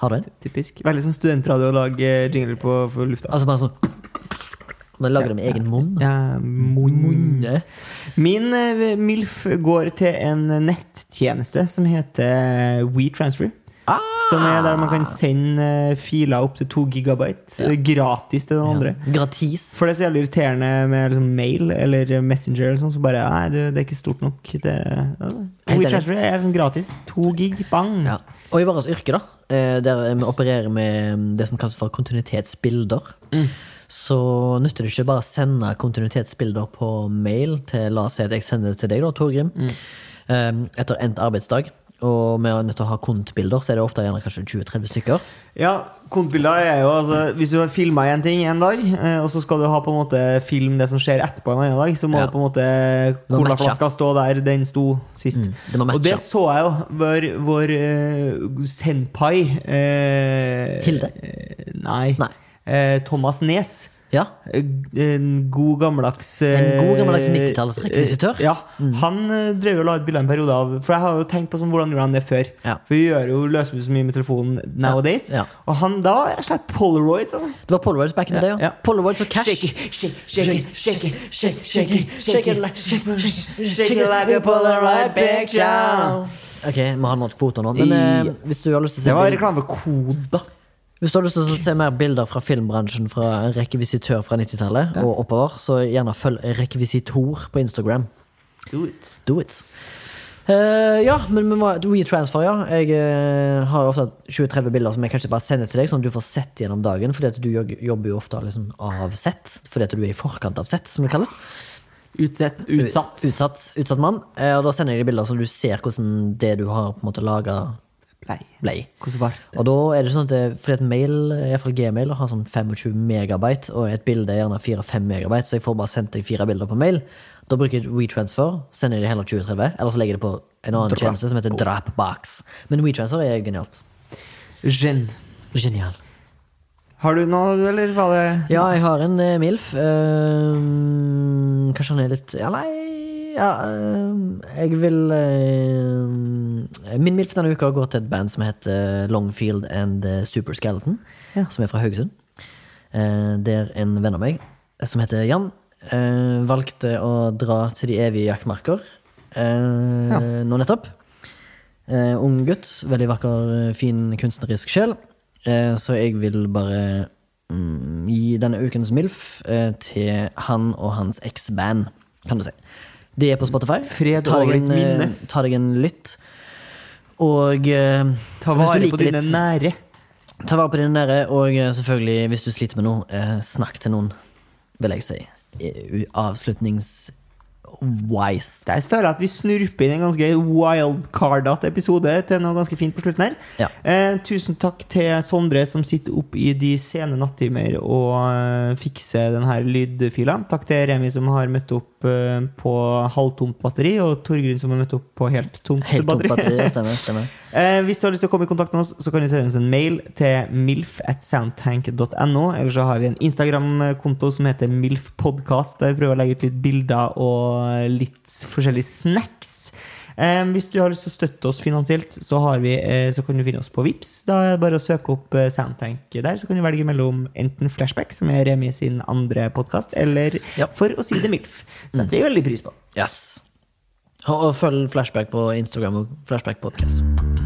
Speaker 3: Har du en?
Speaker 2: Typisk. Veldig sånn studentradio å lage jingler på for lufta.
Speaker 3: Altså bare sånn Men lager det med egen munn?
Speaker 2: Ja, Mm. munn.
Speaker 3: Munne.
Speaker 2: Min eh, MILF går til en nettjeneste som heter WeTransfer. Som er der man kan sende eh, filer opp til 2 gigabyte eh, gratis til den andre.
Speaker 3: Gratis.
Speaker 2: For det er så jævlig irriterende med liksom, mail eller Messenger eller sånn, så bare Nei, du, det er ikke stort nok. Det, ja.
Speaker 3: enig.
Speaker 2: WeTransfer er sånn gratis. 2 gig, bang!
Speaker 3: Ja. Og i vårt yrke, da, eh, der vi opererer med mm, det som kalles for kontinuitetsbilder,
Speaker 2: Mm.
Speaker 3: så nytter det ikke bare å sende kontinuitetsbilder på mail til La oss si at jeg sender det til deg, da, Torgrim,
Speaker 2: Mm.
Speaker 3: eh, etter endt arbeidsdag. Og vi er nødt til å ha kontebilder, så er det ofte gjerne kanskje 20-30 stykker.
Speaker 2: Ja, Kontebilder er jo altså, Hvis du har filma én ting en dag, eh, og så skal du ha på en måte film det som skjer etterpå en annen dag, så må
Speaker 3: Ja.
Speaker 2: du på en måte
Speaker 3: Du må matche.
Speaker 2: colaflaska stå der den sto sist.
Speaker 3: du må matche.
Speaker 2: og det så jeg jo. Vår, vår eh, senpai eh,
Speaker 3: Hilde?
Speaker 2: eh, Nei.
Speaker 3: Nei.
Speaker 2: Eh, Thomas Nes.
Speaker 3: Ja.
Speaker 2: Eh, En god gammeldags eh,
Speaker 3: En god gammeldags Mm. 90-talls rekvisitør.
Speaker 2: eh, Ja, Han eh, drev jo og la ut bilder en periode av For jeg har jo tenkt på sånn, hvordan gjorde han det før.
Speaker 3: Ja.
Speaker 2: For vi gjør jo løser jo så mye med telefonen nowadays.
Speaker 3: Ja.
Speaker 2: Og han da var rett og slett polaroids, altså.
Speaker 3: Det var Polaroids back in the day,
Speaker 2: Ja.
Speaker 3: ja. Polaroids og cash.
Speaker 2: Shake it, shake, shake it, shake it, shake it, shake it,
Speaker 3: Shake it like- shake- shake-
Speaker 2: Shake it like a Polaroid picture.
Speaker 3: Ok, vi har nådd kvoter nå. Men eh, hvis du har lyst til å se
Speaker 2: Det var
Speaker 3: bilder-
Speaker 2: reklame for Kodak.
Speaker 3: Hvis du har lyst til å se mer bilder fra filmbransjen fra en rekvisitør fra 90-tallet og oppover, så gjerne følg rekvisitor på Instagram.
Speaker 2: Do it.
Speaker 3: Do it. Eh, ja, men vi må WeTransfer, ja. Jeg eh, har ofte 20-30 bilder som jeg kanskje bare sender til deg, sånn at du får sett gjennom dagen. Fordi at du jog- jobber jo ofte liksom av sett. Fordi at du er i forkant av sett, som det kalles.
Speaker 2: Utsett, utsatt.
Speaker 3: Utsatt, utsatt mann. Eh, og da sender jeg deg bilder så du ser hvordan det du har på en måte laga,
Speaker 2: Nei.
Speaker 3: blei.
Speaker 2: Hvordan var det?
Speaker 3: Og da er det sånn at det, fordi et mail, i hvert fall Gmail, har sånn 25 megabyte, og et bilde er gjerne 4-5 megabyte, så jeg får bare sendt deg fire bilder på mail. Da bruker jeg WeTransfer, sender jeg det heller 2030, eller så legger jeg det på en annen tjeneste som heter Dropbox. Men WeTransfer er genialt.
Speaker 2: Jen.
Speaker 3: Genial.
Speaker 2: Har du noe, eller var det
Speaker 3: Ja, jeg har en eh, MILF. eh, kanskje han er litt Ja, nei ja, eh, Jeg vil eh, Min MILF denne uka går til et band som heter Longfield and the Super Skeleton. Som er fra Haugesund. Eh, der en venn av meg, eh, som heter Jan, eh, valgte å dra til de evige jaktmarker eh, nå nettopp. Eh, ung gutt, veldig vakker, eh, fin kunstnerisk sjel. Eh, så jeg vil bare mm, gi denne ukens MILF eh, til han og hans eksband, kan du si. De er på Spotify.
Speaker 2: Fred
Speaker 3: Ta deg
Speaker 2: over
Speaker 3: en,
Speaker 2: ditt minne.
Speaker 3: eh, Ta deg en lytt. Og eh,
Speaker 2: Ta
Speaker 3: hvis du
Speaker 2: vare
Speaker 3: liker
Speaker 2: på dine
Speaker 3: litt-
Speaker 2: nære.
Speaker 3: Ta vare på dine nære, og eh, selvfølgelig, hvis du sliter med noe, eh, snakk til noen, vil jeg si. Eh, u- Avslutnings-wise.
Speaker 2: Der føler jeg at vi snurper inn en ganske wildcardete episode til noe ganske fint på slutten her.
Speaker 3: Ja.
Speaker 2: Eh, tusen takk til Sondre som sitter opp i de sene nattimer og eh, fikser denne lydfila. Takk til Remi som har møtt opp eh, på halvtomt batteri, og Torgrunn som har møtt opp på helt tomt
Speaker 3: Helt tomt
Speaker 2: batteri.
Speaker 3: batteri. Stemmer. stemmer.
Speaker 2: Eh, hvis du har lyst til å komme i kontakt med oss, så kan du sende oss en mail til milf at soundtank.no. Eller så har vi en Instagram-konto som heter milfpodkast, der vi prøver å legge ut litt bilder og litt forskjellige snacks. Eh, hvis du har lyst til å støtte oss finansielt, så, har vi, eh, så kan du finne oss på Vips Da er det bare å søke opp eh, Soundtank der, så kan du velge mellom enten Flashback, som er Remi sin andre podkast, eller
Speaker 3: Ja.
Speaker 2: For å si det milf. Setter vi veldig pris på.
Speaker 3: Yes. Og og følg Flashback på Instagram og Flashback Podcast.